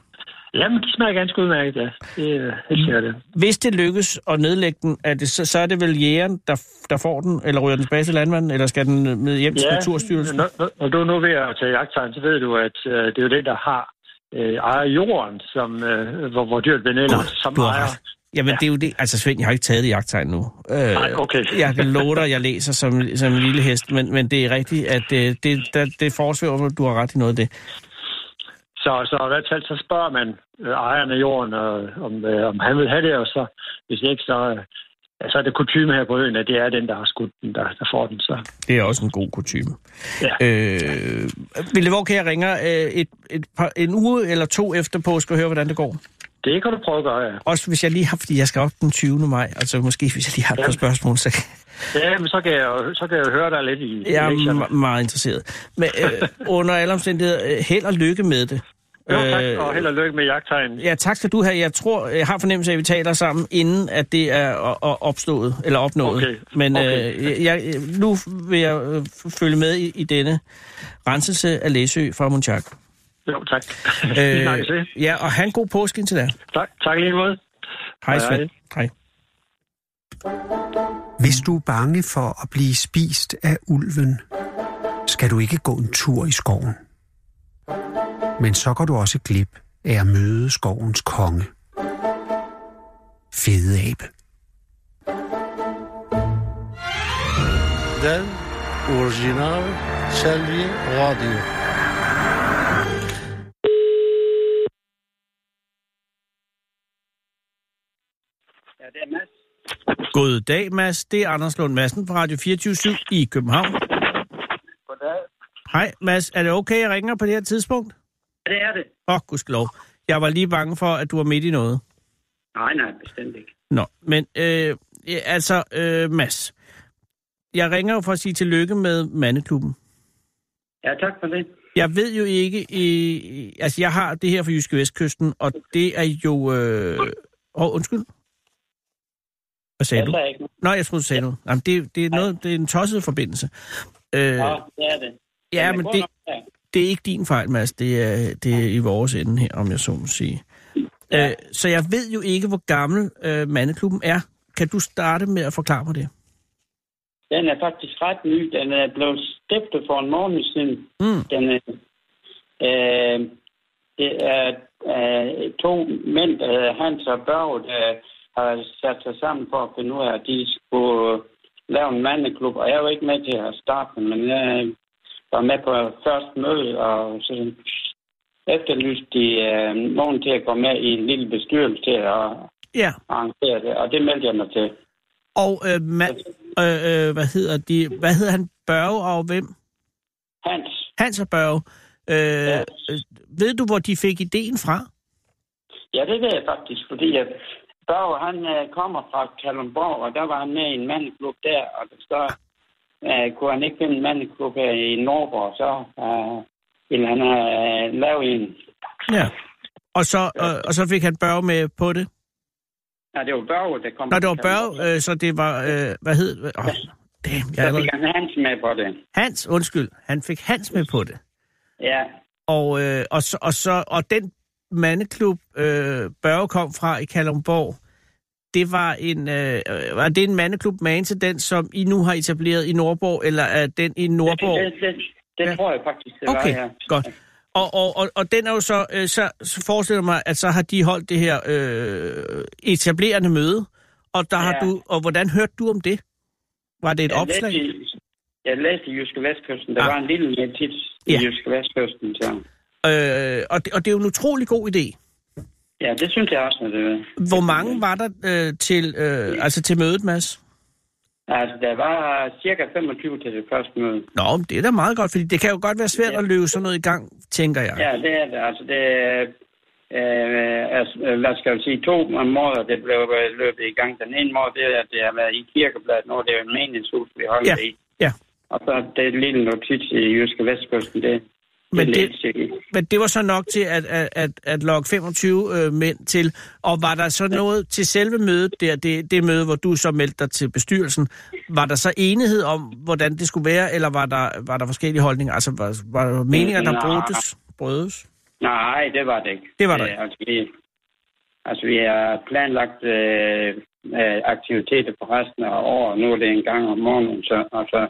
F: jamen, de smager ganske udmærket, ja. Det er helt sikkert det.
C: Hvis det lykkes at nedlægge den, er det, så, så er det vel jægeren, der, der får den, eller ryger den tilbage til landmanden, eller skal den med hjem til ja, Naturstyrelsen?
F: Når, når- når du er nu ved at tage jagttegn, så ved du, at øh, det er jo den, der har øh, ejer jorden, som, øh, hvor, hvor dyret bliver nedlagt, som
C: du har
F: ejer.
C: ret. Jamen, ja. det er jo det. Altså, Svend, jeg har ikke taget det jagttegn nu. Øh,
F: Nej, okay.
C: Jeg kan love dig, jeg læser som, som en lille hest, men, men det er rigtigt, at øh, det, der, det forsvæver, mig, at du har ret i noget af det.
F: *laughs* Så, så i hvert fald så spørger man øh, ejeren af jorden, øh, om, øh, om han vil have det, og så hvis ikke, så, øh, ja, så er det kutume her på øen, at det er den, der har skudt den, der, der får den. Så.
C: Det er også en god kutume.
F: Ja.
C: Øh, Ville, hvor kan jeg ringe øh, et, et par, en uge eller to efter påske og høre, hvordan det går?
F: Det kan du prøve at gøre, ja.
C: Også hvis jeg lige har, fordi jeg skal op den 20. maj, altså måske hvis jeg lige har et par
F: Ja.
C: spørgsmål, så
F: ja men så kan, jeg, jo- så kan jeg jo høre dig lidt i i
C: jeg er
F: lektierne.
C: me- meget interesseret. Men
F: *laughs*
C: øh, under alle omstændigheder, øh, held og lykke med det.
F: Jo, tak, og held og lykke med jagttegnen.
C: Ja, tak skal du have. Jeg tror, jeg har fornemmelse af, at vi taler sammen, inden at det er o- o- opstået, eller opnået.
F: Okay,
C: Men
F: okay.
C: Øh, jeg, jeg- nu vil jeg øh, f- følge med i, i denne renselse af Læsø fra Munchak.
F: Jo,
C: *laughs*
F: tak. Øh... Vi snakkes ved.
C: ja, og han god påske indtil da.
F: Tak, tak i lige måde.
C: Hej,
F: Hej.
C: Svend. Hej.
A: Hvis du er bange for at blive spist af ulven, skal du ikke gå en tur i skoven. Men så går du også glip af at møde skovens konge. Fede abe.
G: Den orijinal Selvi Radyo.
C: God dag, Mads. Det er Anders Lund Madsen fra Radio 24 i København. Goddag. Hej, Mads. Er det okay, jeg ringer på det her tidspunkt?
H: Ja, det er det.
C: Åh, oh, gudskelov. Jeg var lige bange for, at du var midt i noget.
H: Nej, nej, bestemt ikke.
C: Nå, men øh, ja, altså, øh, Mads. Jeg ringer jo for at sige tillykke med mandeklubben.
H: Ja, tak for det.
C: Jeg ved jo ikke, øh, altså jeg har det her fra Jyske Vestkysten, og det er jo... Øh, åh, undskyld. Hvad sagde
H: Jeg
C: du?
H: sagde ikke noget.
C: Nå, jeg troede, du sagde noget. Jamen, det, det, er noget, det er en tosset forbindelse. Øh,
H: Nå, det er det.
C: ja, men
H: god
C: det,
H: nok, ja.
C: det er ikke din fejl, Mads. Det er, det er i vores ende her, om jeg så må sige. Ja. Øh, så jeg ved jo ikke, hvor gammel øh, mandeklubben er. Kan du starte med at forklare mig det?
H: Den er faktisk ret ny. Den er blevet stiftet for en måned siden.
C: Mm.
H: Den er, øh, det er øh, to mænd, øh, Hans og Børge, der har sat sig sammen for at finde ud af, at de skulle lave en mandeklub. Og jeg var ikke med til at starte, men jeg var med på første møde, og så efterlyste de øh, nogen til at gå med i en lille bestyrelse til at
C: Ja,
H: arrangere det, og det meldte jeg mig til.
C: og øh, man, øh, øh, hvad hedder de? Hvad hedder han? Børge og hvem?
H: Hans,
C: Hans og Børge. Øh,
H: Ja.
C: øh, Ved du, hvor de fik ideen fra?
H: Ja, det ved jeg faktisk, fordi at Børge, han øh, kommer fra Kalundborg, og der var han med i en mandeklub der, og så øh, kunne han ikke finde en mandeklub her i Norborg, så øh, ville han øh, lave en.
C: Ja. Og så, øh, og så fik han Børge med på det?
H: Nej, det var Børge, der kom.
C: Nå, det var
H: fra Kalundborg.
C: Børge, øh, så det var, øh, hvad hed det? Oh, damn, jeg er
H: Så
C: allerede...
H: fik han Hans med på det.
C: Hans, undskyld. Han fik Hans med på det.
H: Ja,
C: Og, øh, og, så, og, så, og den mandeklub, øh, Børge kom fra i Kalundborg, det var en, øh, var det en mandeklub med til den, som I nu har etableret i Nordborg, eller er den i
H: det,
C: Nordborg?
H: det, det, det
C: Ja.
H: ja. tror jeg faktisk, det
C: Okay,
H: var, ja.
C: godt. Og, og, og, og den er jo så, øh, så, så forestiller jeg mig, at så har de holdt det her øh, etablerende møde, og der ja. har
H: Ja.
C: du, og hvordan hørte du om det? Var det et
H: Jeg
C: opslag?
H: Læste, i- jeg læste i Jyske Vestkysten. Der
C: Ah.
H: var en lille notit i
C: Ja.
H: Jyske Vestkysten, så...
C: Øh, og, det, og det er jo en utrolig god idé.
H: Ja, det synes jeg også, at det var.
C: Hvor mange var der øh, til, øh, altså til mødet, Mads?
H: Altså, der var cirka 25 til det første møde.
C: Nå, men det er da meget godt, fordi det kan jo godt være svært
H: Ja.
C: at løbe sådan noget i gang, tænker jeg.
H: Ja, det er det. Altså, det er, øh, altså, hvad skal jeg sige, to måder, det blev øh, løbet i gang. Den ene måde, det er, at det har været i kirkebladet, når det er en meningshus, vi holder
C: Ja,
H: i.
C: ja.
H: Og så det lille notits i Jyske Vestkysten, det,
C: Men det-
H: læste jeg i.
C: Men det var så nok til at, at, at, at lokke 25 øh, mænd til. Og var der så noget til selve mødet der, det, det møde, hvor du så meldte dig til bestyrelsen, var der så enighed om, hvordan det skulle være, eller var der, var der forskellige holdninger? Altså, var, var der meninger, der
H: Nej.
C: brødes? brødes?
H: Nej, det var det ikke.
C: Det var det
H: Øh,
C: ikke.
H: Altså, vi, altså, vi har planlagt øh, øh, aktiviteter på resten af året. Nu er det en gang om morgenen, så, og så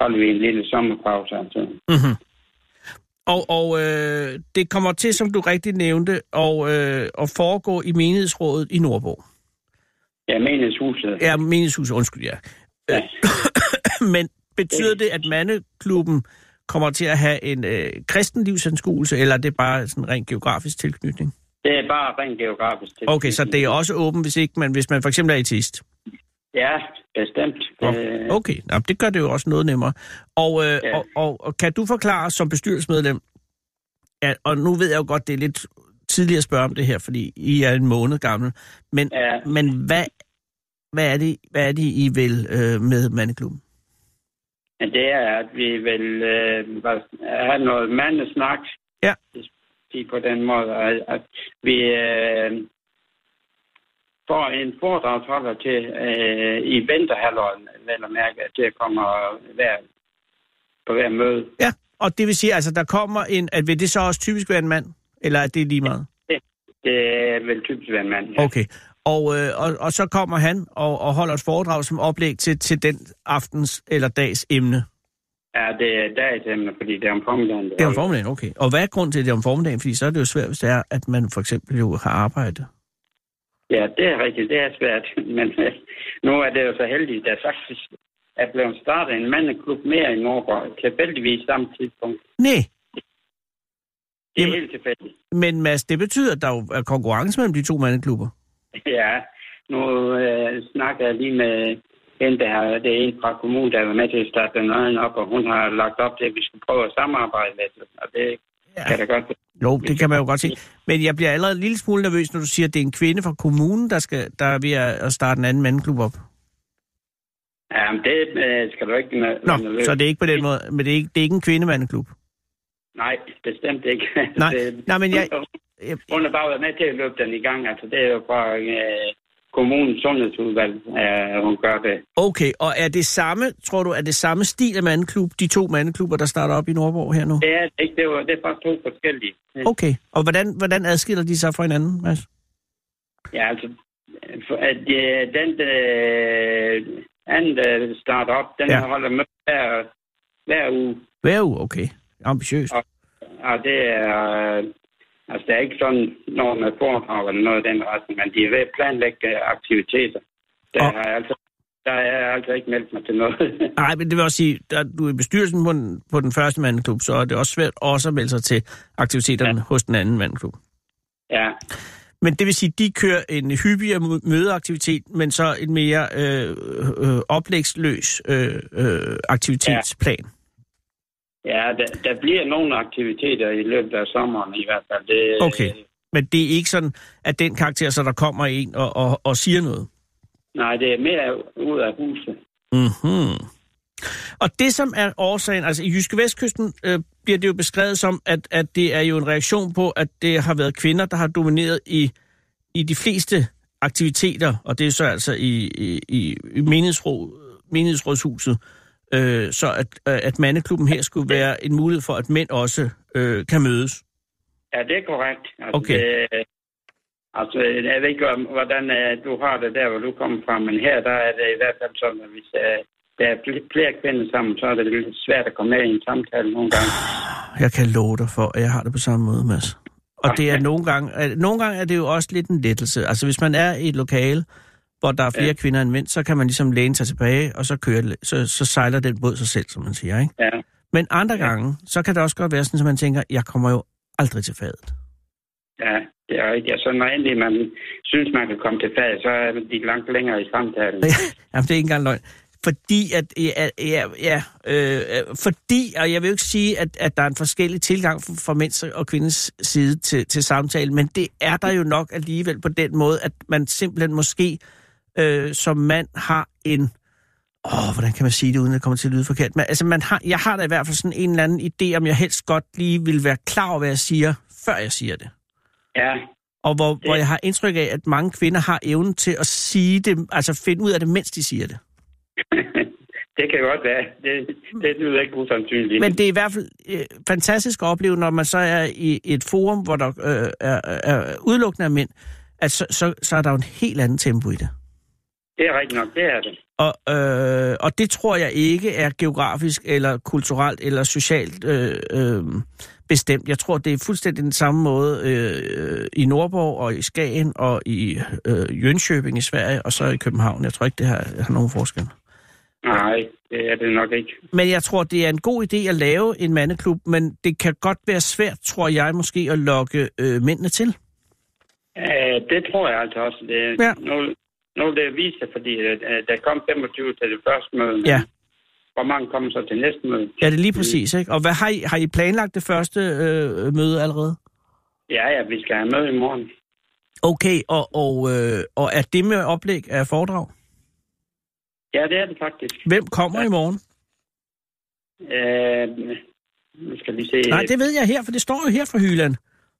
H: holder vi en lille sommerpause. Altså.
C: Mm-hmm. Og, og øh, det kommer til, som du rigtig nævnte, og, øh, at foregå i menighedsrådet i Nordborg.
H: Ja, menighedshuset.
C: Ja, menighedshuset, undskyld, ja. Øh,
H: Ja.
C: *coughs* Men betyder det, at mandeklubben kommer til at have en øh, kristenlivsanskuelse, eller er det bare sådan rent geografisk tilknytning?
H: Det er bare rent geografisk. til.
C: Okay, så det er også åbent, hvis ikke man, hvis man for eksempel er ateist.
H: Ja, bestemt. Øh,
C: Okay, Nå, det gør det jo også noget nemmere. Og, øh,
H: Ja.
C: og, og, og kan du forklare os som bestyrelsesmedlem, at, og nu ved jeg jo godt, det er lidt tidligere at spørge om det her, fordi I er en måned gammel, men,
H: Ja.
C: men hvad, hvad, er det, hvad er det, I vil øh, med mandeklubben?
H: Men det er, at vi vil øh, hvad- have noget mandesnak.
C: Ja.
H: Hvis vi på den måde, at, at vi øh, får en foredragsholder til øh, i vinterhalvåret, vel at mærke, til at komme og være på hver møde.
C: Ja, og det vil sige, altså der kommer en, at vil det så også typisk være en mand, eller er det lige meget?
H: Det vil typisk være en mand. ja.
C: Okay. Og, øh, og, og så kommer han og, og holder et foredrag som oplæg til, til den aftens eller dags emne.
H: Ja, det er dagens fordi det er om formiddagen.
C: Det er om formiddagen, okay. Og hvad er grunden til, at det er om formiddagen? Fordi så er det jo svært, hvis det er, at man for eksempel jo har arbejde.
H: Ja, det er rigtigt. Det er svært. *laughs* Men øh, nu er det jo så heldigt, at der faktisk er blevet startet en mandeklub mere i Norge, tilfældigvis samme tidspunkt.
C: Nej,
H: Det er
C: Jamen-
H: helt tilfældigt. *laughs*
C: men Mads, det betyder, at der jo er konkurrence mellem de to mandeklubber.
H: Ja, nu øh, snakker jeg lige med hende, der har, det er en fra kommunen, der var med til at starte den anden op, og hun har lagt op til, at vi skal prøve at samarbejde lidt, og det ja. kan da godt
C: Jo, det kan man jo godt se. Men jeg bliver allerede en lille smule nervøs, når du siger, at det er en kvinde fra kommunen, der, skal, der er ved at at starte en anden mandeklub op.
H: Ja, men det øh, skal du ikke...
C: Nå, så øh, det er ikke på den måde, men det er ikke, det er ikke en kvindemandeklub.
H: Nej, bestemt ikke. *laughs*
C: Nej,
H: Det-
C: nej, men
H: *laughs*
C: jeg- Jeg-
H: Hun har bare været med til at løbe den i gang. Altså, det er jo fra øh, kommunens sundhedsudvalg, øh, hun gør det.
C: Okay, og er det samme, tror du, er det samme stil af mandeklub, de to mandeklubber, der starter op i Nordborg her nu?
H: Det er det ikke, det, var, det er bare to forskellige.
C: Okay, og hvordan, hvordan adskiller de sig fra hinanden, Mads?
H: Ja, altså, øh, for, at, øh, den øh, anden øh, start op, den
C: Ja.
H: ja. holder med hver, hver uge.
C: Hver uge, okay. Ambitiøst.
H: Og det er, øh, Altså, der er ikke sådan noget med foredrag eller noget i den retning, men de er ved at planlægge øh, aktiviteter. Der,
C: Og-
H: og... er altså, der er jeg altså ikke meldt mig til noget. *laughs*
C: Nej, men det vil også sige, at du er i bestyrelsen på den, på den første mandeklub, så er det også svært også at melde sig til aktiviteterne ja. hos den anden mandeklub.
H: ja,
C: Men det vil sige, at de kører en hyppigere mø- mødeaktivitet, men så en mere øh, øh, oplægsløs øh, øh, aktivitetsplan.
H: ja der, der bliver nogle aktiviteter i løbet af sommeren i hvert fald. Det, øh,
C: Okay. Men det er ikke sådan, at den karakter, så der kommer en og, og, og siger noget.
H: Nej, det er mere ud af huset.
C: Mm-hmm. Og det, som er årsagen, altså i Jyske Vestkysten øh, bliver det jo beskrevet som, at, at det er jo en reaktion på, at det har været kvinder, der har domineret i, i de fleste aktiviteter, og det er så altså i, i, i i menighedsråd, menighedsrådshuset, øh, så at, øh, at mandeklubben her skulle være en mulighed for, at mænd også øh, kan mødes.
H: Ja, det er korrekt. Altså,
C: Okay.
H: Det, altså, jeg ved ikke, om, hvordan øh, du har det der, hvor du kommer fra, men her der er det i hvert fald sådan, at hvis øh, der er fl- flere kvinder sammen, så er det lidt svært at komme med i en samtale nogle gange.
C: Jeg kan love dig for, at jeg har det på samme måde, Mads. Og det er nogle gange, at- nogle gange er det jo også lidt en lettelse. Altså hvis man er i et lokale, hvor der er flere ja.
H: Ja.
C: kvinder end mænd, så kan man ligesom læne sig tilbage, og så, kører, det- så, så sejler den båd sig selv, som man siger. Ikke?
H: Ja,
C: Men andre gange, så kan det også godt være sådan, at man tænker, jeg kommer jo aldrig til fadet.
H: ja det er rigtigt. Og så når endelig man synes, man kan komme til fag, så er de langt længere i
C: *laughs*
H: samtalen.
C: Jamen, det er ikke engang løgn. Fordi at, ja, ja, ja øh, øh, fordi, og jeg vil jo ikke sige, at, at der er en forskellig tilgang fra, fra mænds og kvinders side til, til samtalen, men det er der jo nok alligevel på den måde, at man simpelthen måske øh, som mand har en... Åh, hvordan kan man sige det, uden at det kommer til at lyde forkert? Men altså, man har, jeg har da i hvert fald sådan en eller anden idé, om jeg helst godt lige vil være klar over, hvad jeg siger, før jeg siger det.
H: Ja,
C: Og hvor, hvor jeg har indtryk af, at mange kvinder har evnen til at sige det, altså finde ud af det, mens de siger det.
H: det kan godt være. Det, det lyder ikke usandsynligt.
C: Men det er i hvert fald øh, fantastisk at opleve, når man så er i et forum, hvor der øh, er, er udelukkende af mænd, at så, så, så er der jo en helt anden tempo i det.
H: Det er rigtigt nok, det er det.
C: Og, øh, og det tror jeg ikke er geografisk eller kulturelt eller socialt øh, øh, bestemt. Jeg tror, det er fuldstændig den samme måde øh, i Nordborg og i Skagen og i øh, Jönköping i Sverige og så i København. Jeg tror ikke, det har, har nogen forskel.
H: Nej, det er det nok ikke.
C: Men jeg tror, det er en god idé at lave en mandeklub, men det kan godt være svært, tror jeg måske, at lokke øh, mændene til.
H: Øh, det tror jeg altså også. Det,
C: Ja.
H: ja. nu, nu er det vist, fordi øh, der kom 25 til det første møde. men
C: Ja.
H: Hvor mange kommer så til næste møde?
C: Ja, det er lige præcis, ikke? Og hvad har I, har I planlagt det første øh, møde allerede?
H: Ja, ja, vi skal have møde i morgen.
C: Okay, og, og, øh, og er det med oplæg af foredrag?
H: Ja, det er det faktisk.
C: Hvem kommer i morgen?
H: Øh, nu skal vi se.
C: Nej, det ved jeg her, for det står jo her fra Hyland.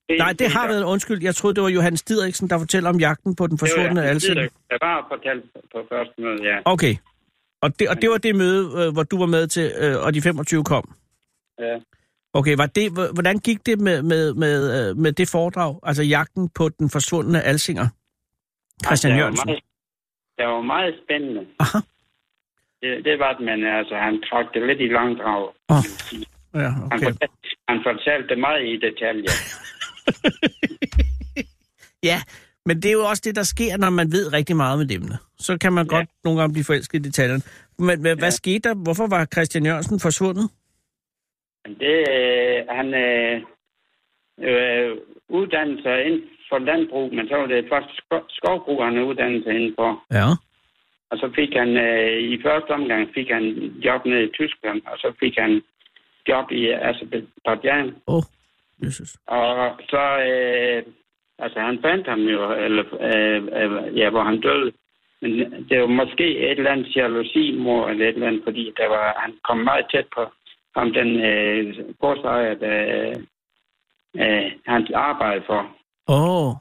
H: det,
C: Nej, det har været undskyld. Jeg troede, det var Johannes Didriksen, der fortæller om jagten på den forsvundne alsing.
H: Jeg var fortalt på første møde, ja.
C: Okay. Og det, og det var det møde, øh, hvor du var med til, øh, og de 25 kom?
H: ja.
C: Okay, var det, h- hvordan gik det med, med, med, øh, med det foredrag, altså jagten på den forsvundne alsinger? Christian
H: Der var
C: Jørgensen.
H: meget- Det var meget spændende.
C: Aha.
H: Det, det var det, men altså, han trak det lidt i langdrag.
C: Åh,
H: kan man sige.
C: ja,
H: Han,
C: okay.
H: fortalte, han fortalte det meget i detaljer.
C: ja, men det er jo også det, der sker, når man ved rigtig meget med emne. Så kan man
H: Ja.
C: godt nogle gange blive forelsket i detaljerne. Men hvad, hvad skete der? Hvorfor var Christian Jørgensen forsvundet?
H: Det, øh, han øh, øh, uddannede sig inden for landbrug, men så var det faktisk sko- skovbrug, han uddannede sig inden for.
C: Ja.
H: Og så fik han, øh, i første omgang fik han job nede i Tyskland, og så fik han job i Azerbaijan.
C: Åh, oh, Jesus.
H: Og så, øh, altså han fandt ham jo, eller, øh, øh, ja, hvor han døde. Men det var måske et eller andet jalousi, mor, eller et eller andet, fordi der var, han kom meget tæt på ham, den øh, godsejer, der øh, han arbejdede for.
C: Åh. Oh.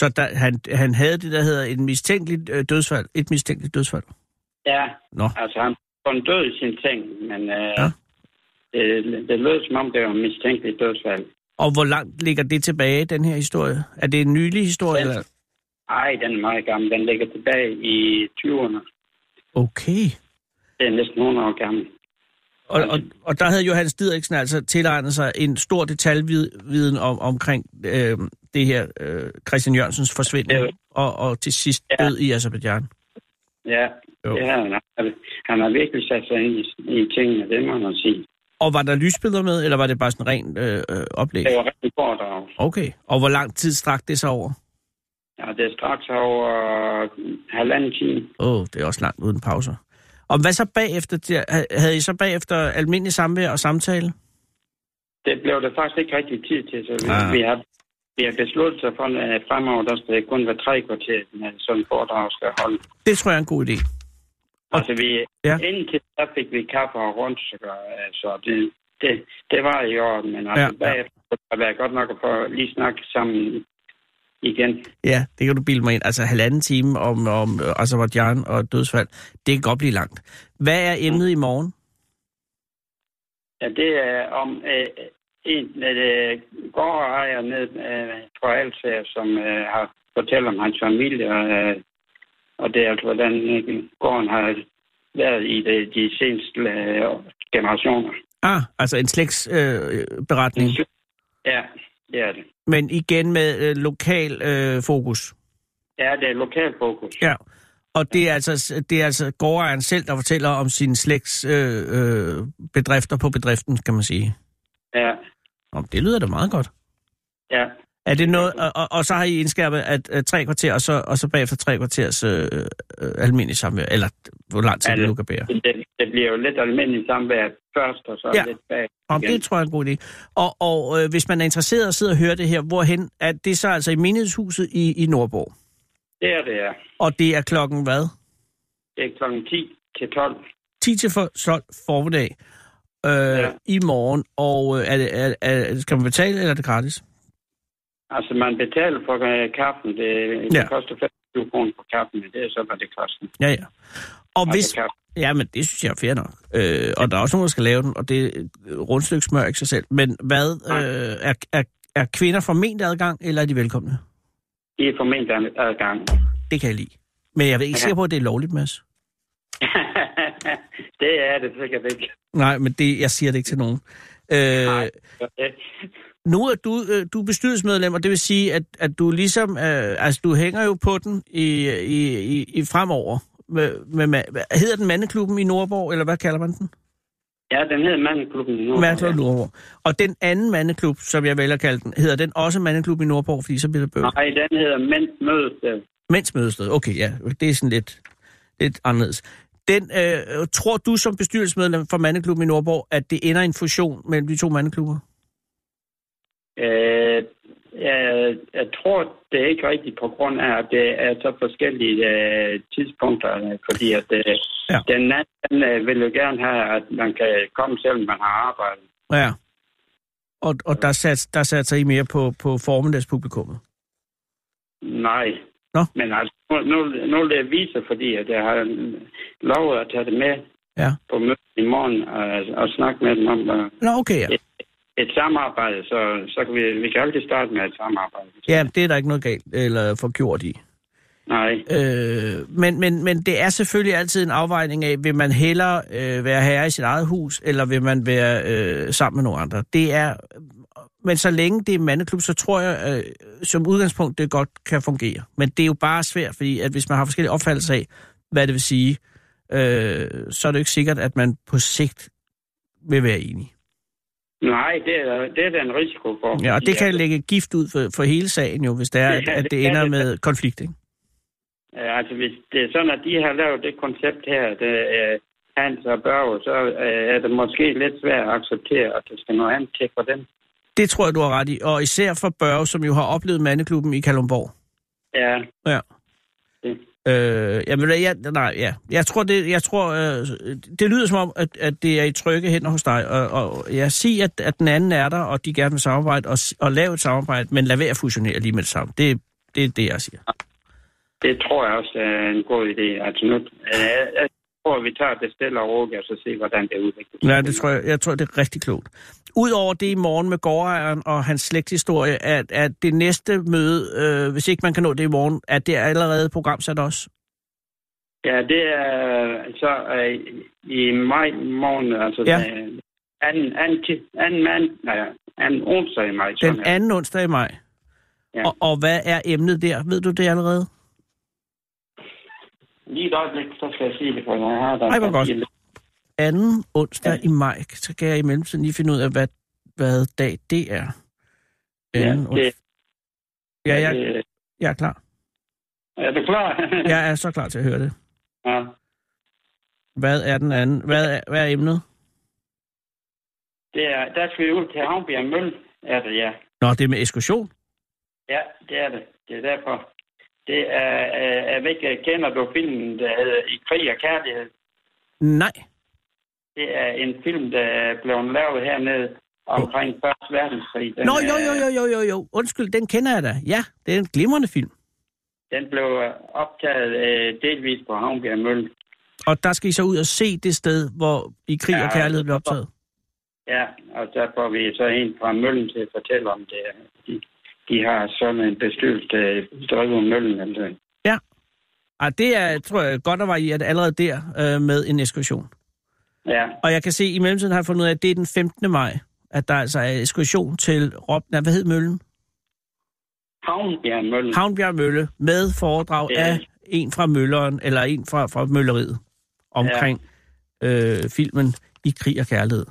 C: Så der, han, han havde det, der hedder en mistænkeligt øh, dødsfald. Et mistænkeligt dødsfald.
H: Ja,
C: Nå.
H: altså han kom død i sin ting, men øh,
C: Ja.
H: ja. det, det lød som om, det var mistænkeligt dødsfald.
C: Og hvor langt ligger det tilbage, den her historie? Er det en nylig historie?
H: Ja.
C: Eller?
H: Ej, den er meget gammel. Den ligger tilbage i 20'erne.
C: Okay.
H: Det er næsten 100 år gammel.
C: Og, og, og der havde Johannes Didriksen altså tilegnet sig en stor detaljviden om, omkring øh, det her øh, Christian Jørgensens forsvinden
H: Ja.
C: og, og til sidst
H: Ja.
C: død i Azerbaijan.
H: Ja,
C: Jo.
H: det har han. Han- Han har virkelig sat sig ind i, i tingene, det må man sige.
C: Og var der lysbilleder med, eller var det bare sådan rent øh, øh, oplæg?
H: Det var rigtig foredrag.
C: Okay. Og hvor lang tid strakte det sig over?
H: Ja, det er straks over halvanden time.
C: Åh, oh, det er også langt uden pauser. Og hvad så bagefter? Der- ha- Havde I så bagefter almindelig samvær og samtale?
H: Det blev der faktisk ikke rigtig tid til, så vi,
C: Ah.
H: vi, har, vi har besluttet sig for, at fremover der skal det kun være tre kvarter, når sådan en foredrag skal holde.
C: Det tror jeg er en god idé.
H: Altså, vi,
C: Ah. Ja.
H: ja. indtil der fik vi kaffe og rundt, så altså, det, det, det var i orden, men altså,
C: Ja, ja.
H: ja, bagefter ja. var jeg godt nok at få lige snakke sammen igen.
C: Ja, det kan du bilde mig ind. Altså halvanden time om, om øh, Azerbaijan og dødsfald. Det kan godt blive langt. Hvad er emnet i morgen?
H: Ja, det er om øh, en øh, gårdejer ned øh, fra Alsager, som øh, har fortalt om hans familie, og, øh, og det er altså, hvordan øh, gården har været i de, de seneste øh, generationer.
C: Ah, altså en slægts øh, beretning.
H: Ja, det er det.
C: Men igen med øh, lokal øh, fokus.
H: Ja, det er lokal fokus.
C: Ja. Og det er altså, det er altså gårdejeren selv, der fortæller om sine slægts øh, øh, bedrifter på bedriften, kan man sige.
H: Ja,
C: Om det lyder da meget godt.
H: ja.
C: Er det noget, og, og, og så har I indskærpet at, at tre kvarter, og så, og så bagefter tre kvarters øh, øh, almindelig samvær, eller hvor lang tid
H: Ja,
C: det
H: det-
C: nu kan bære.
H: Det, det bliver jo lidt almindeligt samvær først, og så
C: Ja.
H: ja. lidt bag.
C: Om
H: igen.
C: det tror jeg er en god idé. Og, og øh, hvis man er interesseret og sidder og hører det her, hvorhen er det så altså i menighedshuset i, i Nordborg?
H: Det er det, ja.
C: Og det er klokken hvad?
H: Det er klokken 10 til 12.
C: 10 til for- 12 formiddag øh, ja.
H: Ja.
C: i morgen, og øh, er det, er, er, skal man betale, eller er det gratis?
H: Altså, man betaler for øh, kaffen. Det, det
C: Ja.
H: ja. koster 25 kroner for kaffen, men det er så, hvad det koster.
C: Ja, ja. Og hvis,
H: Altså, kaffen.
C: Ja, men det synes jeg er fair nok. Øh, og der er også nogen, der skal lave den, og det øh, rundstykke smør ikke sig selv. Men hvad,
H: Nej.
C: øh, er, er, er kvinder forment adgang, eller er de velkomne?
H: Det er formentlig ad- adgang. *laughs*
C: Det kan jeg lide. Men jeg er ikke
H: Ja.
C: sikker på, at det er lovligt, Mads.
H: det er det sikkert ikke.
C: Nej, men det, jeg siger det ikke til nogen. Øh,
H: Nej. Så det-
C: nu er du, øh, du er bestyrelsesmedlem, og det vil sige, at, at du ligesom, øh, altså du hænger jo på den i, i, i, i fremover. Med, med, med, hvad- hedder den mandeklubben i Nordborg, eller hvad kalder man den?
H: Ja, den hedder Mandeklubben nu.
C: Mandeklub Nordborg. Og den anden mandeklub, som jeg vælger at kalde den, hedder den også mandeklub i Nordborg, fordi så bliver det bøvl.
H: Nej, den hedder Mænd mødes. øh.
C: Mens mødested. Okay, ja, det er sådan lidt, lidt anderledes. Den, øh, tror du som bestyrelsesmedlem for Mandeklubben i Nordborg, at det ender i en fusion mellem de to mandeklubber?
H: Øh, jeg, jeg tror det er ikke rigtigt på grund af, at det er så forskellige øh, tidspunkter, øh, fordi at øh,
C: Ja.
H: ja. den anden øh, vil jo gerne have, at man kan komme, selvom man har arbejde.
C: Ja. Og, og der satte der sat sig I mere på, på formiddagspublikummet.
H: Nej.
C: Nå.
H: Men altså, nu, nu, nu vil jeg vise, fordi at jeg har lovet at tage det med
C: Ja.
H: på mødet i morgen og, og snakke med dem om øh,
C: Nå, okay, ja.
H: et samarbejde, så, så kan vi, vi kan altid starte med et samarbejde.
C: Ja, det er der ikke noget galt eller forgjort i.
H: Nej.
C: Øh, men, men, men det er selvfølgelig altid en afvejning af, vil man hellere øh, være herre i sit eget hus, eller vil man være øh, sammen med nogle andre. Det er, men så længe det er en mandeklub, så tror jeg øh, som udgangspunkt, det godt kan fungere. Men det er jo bare svært, fordi at hvis man har forskellige opfattelser af, hvad det vil sige, øh, så er det jo ikke sikkert, at man på sigt vil være enig.
H: Nej, det er, det er der en risiko for.
C: Ja, og det
H: fordi
C: kan
H: at-
C: lægge gift ud for, for hele sagen jo, hvis det er, at, at det ender med konflikt, ikke?
H: Øh, altså, hvis det er sådan, at de har lavet det koncept her, at øh, Hans og Børge, så øh, er det måske lidt svært at acceptere, at det skal noget andet til for dem.
C: Det tror jeg, du har ret i. Og især for Børge, som jo har oplevet mandeklubben i Kalundborg.
H: Ja,
C: Ja.
H: Det.
C: Øh, jamen, jeg, nej, ja. Jeg tror, det, jeg tror øh, det lyder som om, at, at det er i trygge hænder hos dig. Og, og jeg siger, at, at den anden er der, og de gerne vil samarbejde og, s- og lave et samarbejde, men lad være at fusionere lige med det samme. Det, det er det, jeg siger.
H: det tror jeg også er en god idé. Altså, nu, øh, jeg tror, vi tager det stille og roligt, og så se, hvordan det udvikler sig.
C: Ja, det tror jeg, jeg tror, det er rigtig klogt. Udover det i morgen med gårdejeren og hans slægtshistorie, at, at det næste møde, øh, hvis ikke man kan nå det i morgen, at det er allerede programsat også.
H: Ja, det er øh, så øh, i maj måned, altså
C: Ja.
H: ja. den anden, anden, ti- anden, mand, nej, anden onsdag i maj.
C: Den
H: sådan her.
C: anden onsdag i maj.
H: Ja.
C: Og, og hvad er emnet der? Ved du det allerede?
H: Lige et øjeblik, så skal jeg sige det, for jeg har der.
C: Ej, hvor godt. Anden onsdag ja. i maj. Så kan jeg i mellemtiden lige finde ud af, hvad, hvad dag det er.
H: Ja,
C: Anden
H: det,
C: ons- ja jeg,
H: det,
C: jeg er klar.
H: er du klar?
C: Jeg er så klar til at høre det.
H: *laughs* ja.
C: Hvad er den anden? Hvad er, hvad er emnet?
H: Det er, der skal vi ud til Havnbjerg Mølle, er det, ja.
C: Nå, det er med ekskursion.
H: Ja, det er det. Det er derfor. Det er, øh, jeg ved ikke, kender du filmen, der hedder I krig og kærlighed?
C: Nej.
H: Det er en film, der er blevet lavet hernede omkring Første Verdenskrig. Den,
C: Nå, jo,
H: er-
C: jo, jo, jo, jo, jo. Undskyld, den kender jeg da. Ja, det er en glimrende film.
H: Den blev optaget øh, delvis på Havnbjerg Mølle.
C: Og der skal I så ud og se det sted, hvor I krig og
H: Ja.
C: kærlighed blev optaget.
H: Ja, og der får vi så en fra Møllen til at fortælle om det. De, de har sådan en bestyrelse, der driver Møllen. Altså.
C: Ej, det er, tror jeg, godt at var i, at allerede der øh, med en ekskursion.
H: Ja,
C: Og jeg kan se, at i mellemtiden har jeg fundet ud af, at det er den 15. maj, at der altså er ekskursion til Rob, nej, hvad hed Møllen?
H: Havnbjerg Møllen.
C: Havnbjerg Mølle med foredrag
H: Ja.
C: af en fra Mølleren, eller en fra, fra Mølleriet, omkring øh, filmen I krig og kærlighed.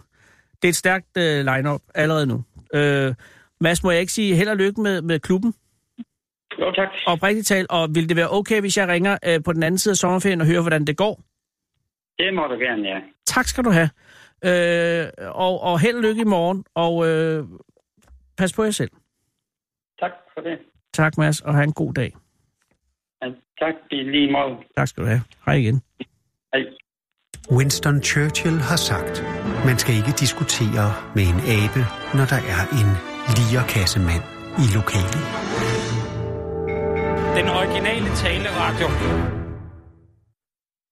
C: Det er et stærkt øh, line-up allerede nu. Øh, Mads, må jeg ikke sige held og lykke med, med klubben?
H: Jo, tak.
C: Oprigtigt talt, og vil det være okay, hvis jeg ringer øh, på den anden side af sommerferien og hører, hvordan det går?
H: Det må du gerne, ja.
C: Tak skal du have. Øh, og, og held og lykke i morgen, og øh, pas på jer selv.
H: Tak for det.
C: Tak, Mads, og have en god dag.
H: Ja, tak i lige måde.
C: Tak skal du have. Hej igen.
H: Hej.
A: Winston Churchill har sagt, man skal ikke diskutere med en abe, når der er en lierkassemand i lokalet.
I: Den originale taleradio.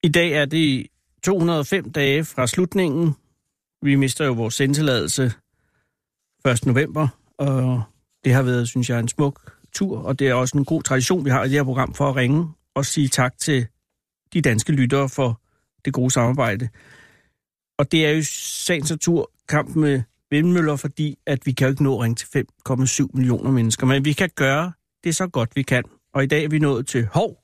C: I dag er det 205 dage fra slutningen. Vi mister jo vores sendtilladelse 1. november, og det har været, synes jeg, en smuk tur, og det er også en god tradition, vi har i det her program for at ringe og sige tak til de danske lyttere for det gode samarbejde. Og det er jo sagens natur kamp med vindmøller, fordi at vi kan jo ikke nå at ringe til 5,7 millioner mennesker, men vi kan gøre det så godt vi kan. Og i dag er vi nået til Hov,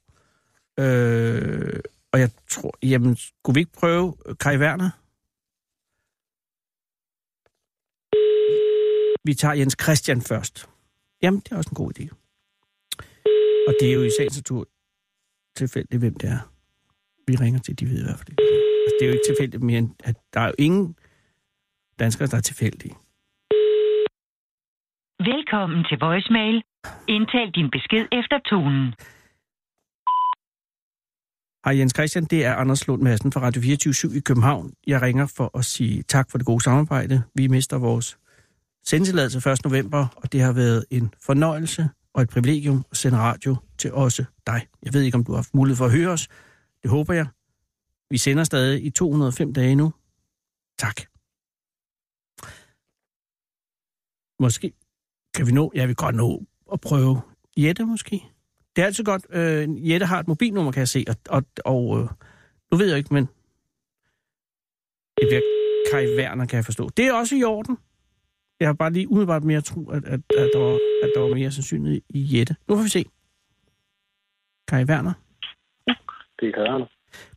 C: øh, og jeg tror, jamen, skulle vi ikke prøve øh, Kai Werner? Vi tager Jens Christian først. Jamen, det er også en god idé. Og det er jo i sagens natur tilfældigt, hvem det er. Vi ringer til, de ved i hvert fald ikke. Altså, det er jo ikke tilfældigt mere, end at der er jo ingen danskere, der er tilfældige.
J: Velkommen til voicemail. Indtal din besked efter tonen.
C: Hej Jens Christian, det er Anders Lund Madsen fra Radio 24 i København. Jeg ringer for at sige tak for det gode samarbejde. Vi mister vores sendetilladelse 1. november, og det har været en fornøjelse og et privilegium at sende radio til også dig. Jeg ved ikke, om du har haft mulighed for at høre os. Det håber jeg. Vi sender stadig i 205 dage nu. Tak. Måske kan vi nå, ja, vi kan godt nå at prøve Jette måske. Det er altid godt. Øh, Jette har et mobilnummer, kan jeg se, og, og, og øh, nu ved jeg ikke, men det bliver Kai Werner, kan jeg forstå. Det er også i orden. Jeg har bare lige umiddelbart mere tro, at, at, at, der, var, at der var mere sandsynlighed i Jette. Nu får vi se. Kai Werner.
F: Det er kørende.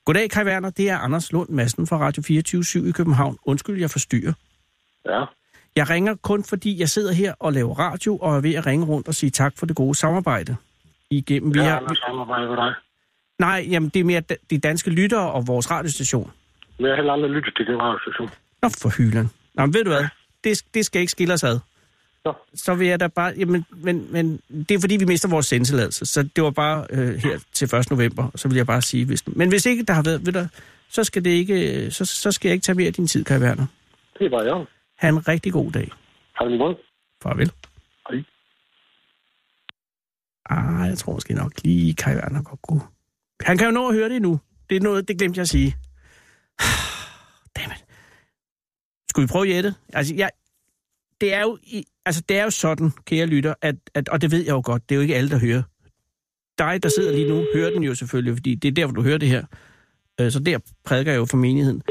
C: Goddag, Kai Werner. Det er Anders Lund Madsen fra Radio 24 i København. Undskyld, jeg forstyrrer.
F: Ja.
C: Jeg ringer kun, fordi jeg sidder her og laver radio, og er ved at ringe rundt og sige tak for det gode samarbejde. Igennem, vi
F: Jeg
C: har,
F: har noget samarbejde med dig.
C: Nej, jamen det er mere da- de danske lyttere og vores radiostation.
F: Men jeg har heller aldrig lyttet til den radiostation.
C: Nå for hylden. Nå, men ved du hvad? Det, det skal ikke skille os ad.
F: Nå.
C: Så vil jeg da bare... Jamen, men, men det er fordi, vi mister vores sendtilladelse. Så det var bare øh, her til 1. november. Så vil jeg bare sige... Hvis, men hvis ikke der har været... Ved du, så, skal det ikke, øh, så, så skal jeg ikke tage mere af din tid, Kai Werner.
F: Det er bare jeg.
C: Ha' en rigtig god dag.
F: Har du en måde?
C: Farvel.
F: Hej.
C: Ah, jeg tror måske nok lige, Kai Werner godt kunne. Han kan jo nå at høre det nu. Det er noget, det glemte jeg at sige. *sighs* Dammit. Skulle vi prøve Jette? Altså, jeg, det er jo, i- altså, det er jo sådan, kære lytter, at, at, og det ved jeg jo godt, det er jo ikke alle, der hører. Dig, der sidder lige nu, hører den jo selvfølgelig, fordi det er der, hvor du hører det her. Øh, så der prædiker jeg jo for menigheden.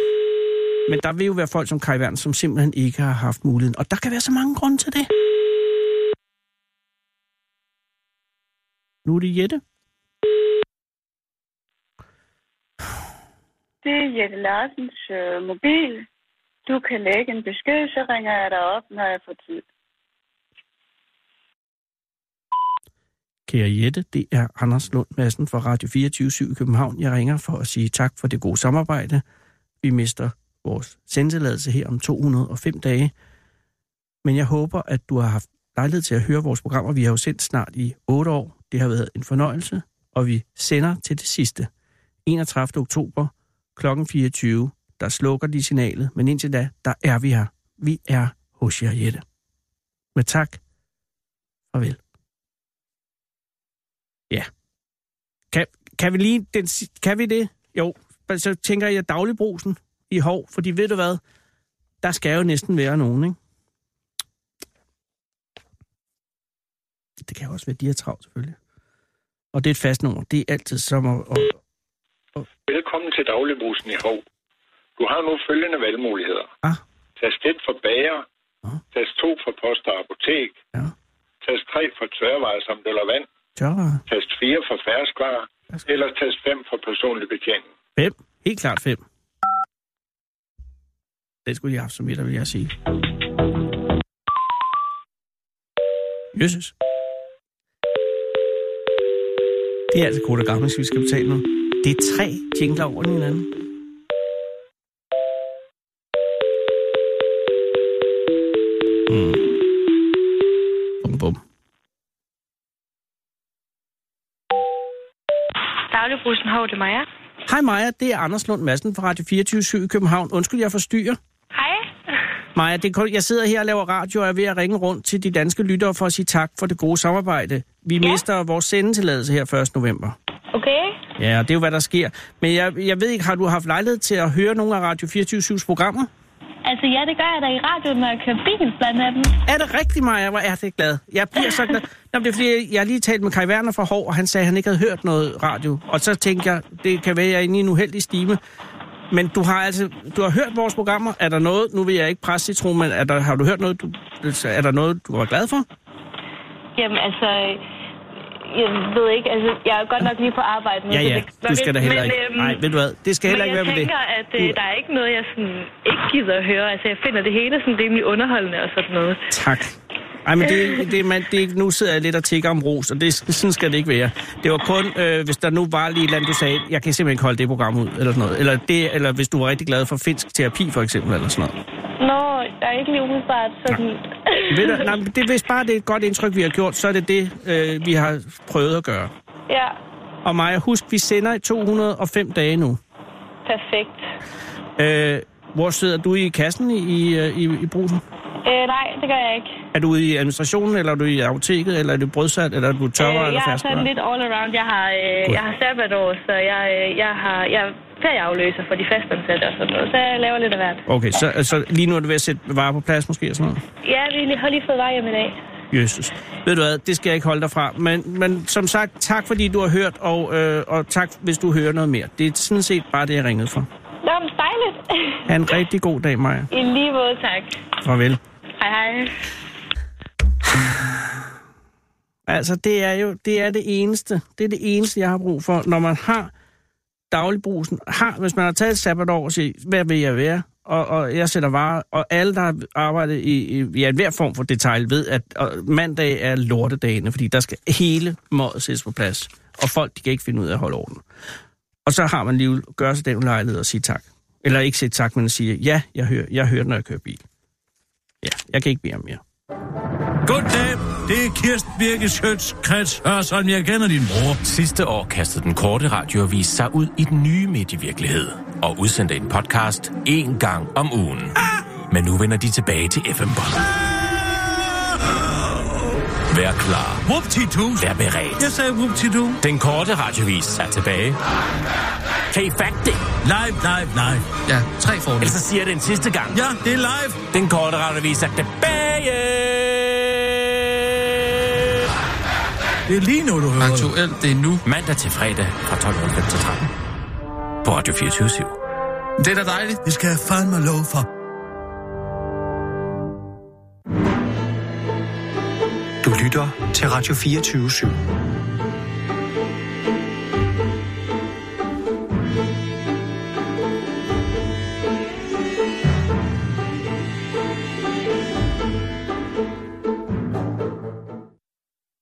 C: Men der vil jo være folk som Kai Werner, som simpelthen ikke har haft muligheden. Og der kan være så mange grunde til det. Nu er det Jette.
K: Det er Jette Larsens øh, mobil. Du kan lægge en besked, så ringer jeg dig op, når jeg får tid.
C: Kære Jette, det er Anders Lund Madsen fra Radio 24 i København. Jeg ringer for at sige tak for det gode samarbejde. Vi mister vores sendtilladelse her om 205 dage. Men jeg håber, at du har haft lejlighed til at høre vores programmer. Vi har jo sendt snart i 8 år. Det har været en fornøjelse, og vi sender til det sidste. 31. oktober kl. 24. Der slukker de signalet, men indtil da, der er vi her. Vi er hos jer, Jette. Med tak. Farvel. Ja. Kan, kan vi lige... Den, si- kan vi det? Jo. Men Så tænker jeg dagligbrusen i hov, fordi ved du hvad? Der skal jo næsten være nogen, ikke? Det kan jo også være, de er travlt, selvfølgelig. Og det er et fast nummer. Det er altid som at... at
L: Velkommen til Dagligbrusen i Hov. Du har nu følgende valgmuligheder.
C: Ah.
L: Tast 1 for bager. Ah. Tast 2 for post og apotek.
C: Ja.
L: Tast 3 for tørvarer samt øl og vand.
C: tørre.
L: Tast 4 for færskvarer. Eller tast 5 for personlig betjening.
C: Fem. Helt klart fem. Den skulle jeg have haft som middag, vil jeg sige. Jesus. Det er altså kort og gammelt, vi skal betale nu. Det er tre jingler over den hinanden. Mm. Bum, bum.
M: Dagligbrusen Hov, det er Maja.
C: Hej Maja, det er Anders Lund Madsen fra Radio 24 i København. Undskyld, jeg forstyrrer.
M: Hej.
C: Maja, det er kun, jeg sidder her og laver radio, og jeg er ved at ringe rundt til de danske lyttere for at sige tak for det gode samarbejde. Vi ja. mister vores sendetilladelse her 1. november.
M: Okay.
C: Ja, og det er jo, hvad der sker. Men jeg, jeg ved ikke, har du haft lejlighed til at høre nogle af Radio 24-7's programmer?
M: Altså, ja, det gør jeg da i radioen, når jeg kører bil blandt andet.
C: Er det rigtigt, Maja? Hvor er det glad. Jeg bliver så glad. Nå, men det er fordi, jeg har lige talt med Kai Werner fra Hov, og han sagde, at han ikke havde hørt noget radio. Og så tænkte jeg, det kan være, at jeg er inde i en uheldig stime. Men du har altså, du har hørt vores programmer. Er der noget, nu vil jeg ikke presse citron, men er der, har du hørt noget, du, er der noget, du var glad for?
M: Jamen, altså, jeg ved ikke, altså, jeg er godt nok lige på arbejde nu.
C: Ja,
M: så
C: ja,
M: det kan
C: du
M: være
C: skal da
M: lidt-
C: heller
M: men,
C: ikke.
M: øhm,
C: Nej, ved du hvad, det skal heller ikke være med
M: Men
C: det.
M: jeg tænker, at øh, der er ikke noget, jeg sådan ikke gider at høre. Altså, jeg finder det hele sådan rimelig underholdende og sådan noget.
C: Tak. Ej, men det, det, man, det, nu sidder jeg lidt og tigger om ros, og det, sådan skal det ikke være. Det var kun, øh, hvis der nu var lige et eller andet, du sagde, jeg kan simpelthen ikke holde det program ud, eller sådan noget. Eller, det, eller hvis du var rigtig glad for finsk terapi, for eksempel, eller sådan noget.
M: Nå, der er ikke lige umiddelbart sådan...
C: Ved du, nej, men det, hvis bare det er et godt indtryk, vi har gjort, så er det det, øh, vi har prøvet at gøre.
M: Ja,
C: Og Maja, husk, vi sender i 205 dage nu.
M: perfekt.
C: Øh, hvor sidder du i kassen i, øh, i, i brusen?
M: Øh, nej, det gør jeg ikke.
C: Er du ude i administrationen, eller er du i apoteket, eller er du brødsat, eller er du tørre,
M: øh,
C: eller
M: jeg er
C: færdsbørn?
M: sådan lidt all around. Jeg har, øh, jeg har sabbatår, så jeg, øh, jeg, har, jeg er ferieafløser for de fastansatte og sådan noget. Så jeg laver lidt af hvert.
C: Okay, så altså, lige nu er du ved at sætte varer på plads måske og sådan noget?
M: Ja, vi lige- har lige fået vej hjem i dag.
C: Jesus. Ved du hvad, det skal jeg ikke holde dig fra. Men, men som sagt, tak fordi du har hørt, og, øh, og tak hvis du hører noget mere. Det er sådan set bare det, jeg ringede for.
M: Nå, men dejligt.
C: Ha' en rigtig god dag, Maja.
M: I lige måde, tak.
C: Farvel.
M: Hej, hej.
C: Altså, det er jo det, er det eneste. Det er det eneste, jeg har brug for. Når man har dagligbrusen, har, hvis man har taget et sabbatår og siger, hvad vil jeg være? Og, og jeg sætter varer, og alle, der har arbejdet i, i ja, hver form for detalj, ved, at og mandag er lortedagene, fordi der skal hele mådet sættes på plads. Og folk, de kan ikke finde ud af at holde orden. Og så har man lige gør sig den lejlighed og sige tak. Eller ikke sige tak, men sige, ja, jeg hører, jeg hører, når jeg kører bil. Ja, jeg kan ikke bede om mere.
N: Goddag, det er Kirsten Birke Sjøtskrets Hørsholm. Jeg kender din bror.
O: Sidste år kastede den korte radioavis sig ud i den nye medievirkelighed og udsendte en podcast én gang om ugen. Men nu vender de tilbage til FM-båndet. Vær klar.
N: Wuptitus.
O: Vær beredt.
N: Jeg sagde wuptitu.
O: Den korte radiovis er tilbage. Kan I fatte det?
N: Live, live, live.
O: Ja, tre fordele. Ellers så Altså, siger jeg det en sidste gang.
N: Ja, det er live.
O: Den korte radiovis er tilbage.
N: Det er lige nu, du hører.
O: Aktuelt, det er nu. Mandag til fredag fra 12.05 til 13. på Radio 24-7.
P: Det er da dejligt. Det skal jeg fandme lov for.
A: Du lytter til Radio 24 /7.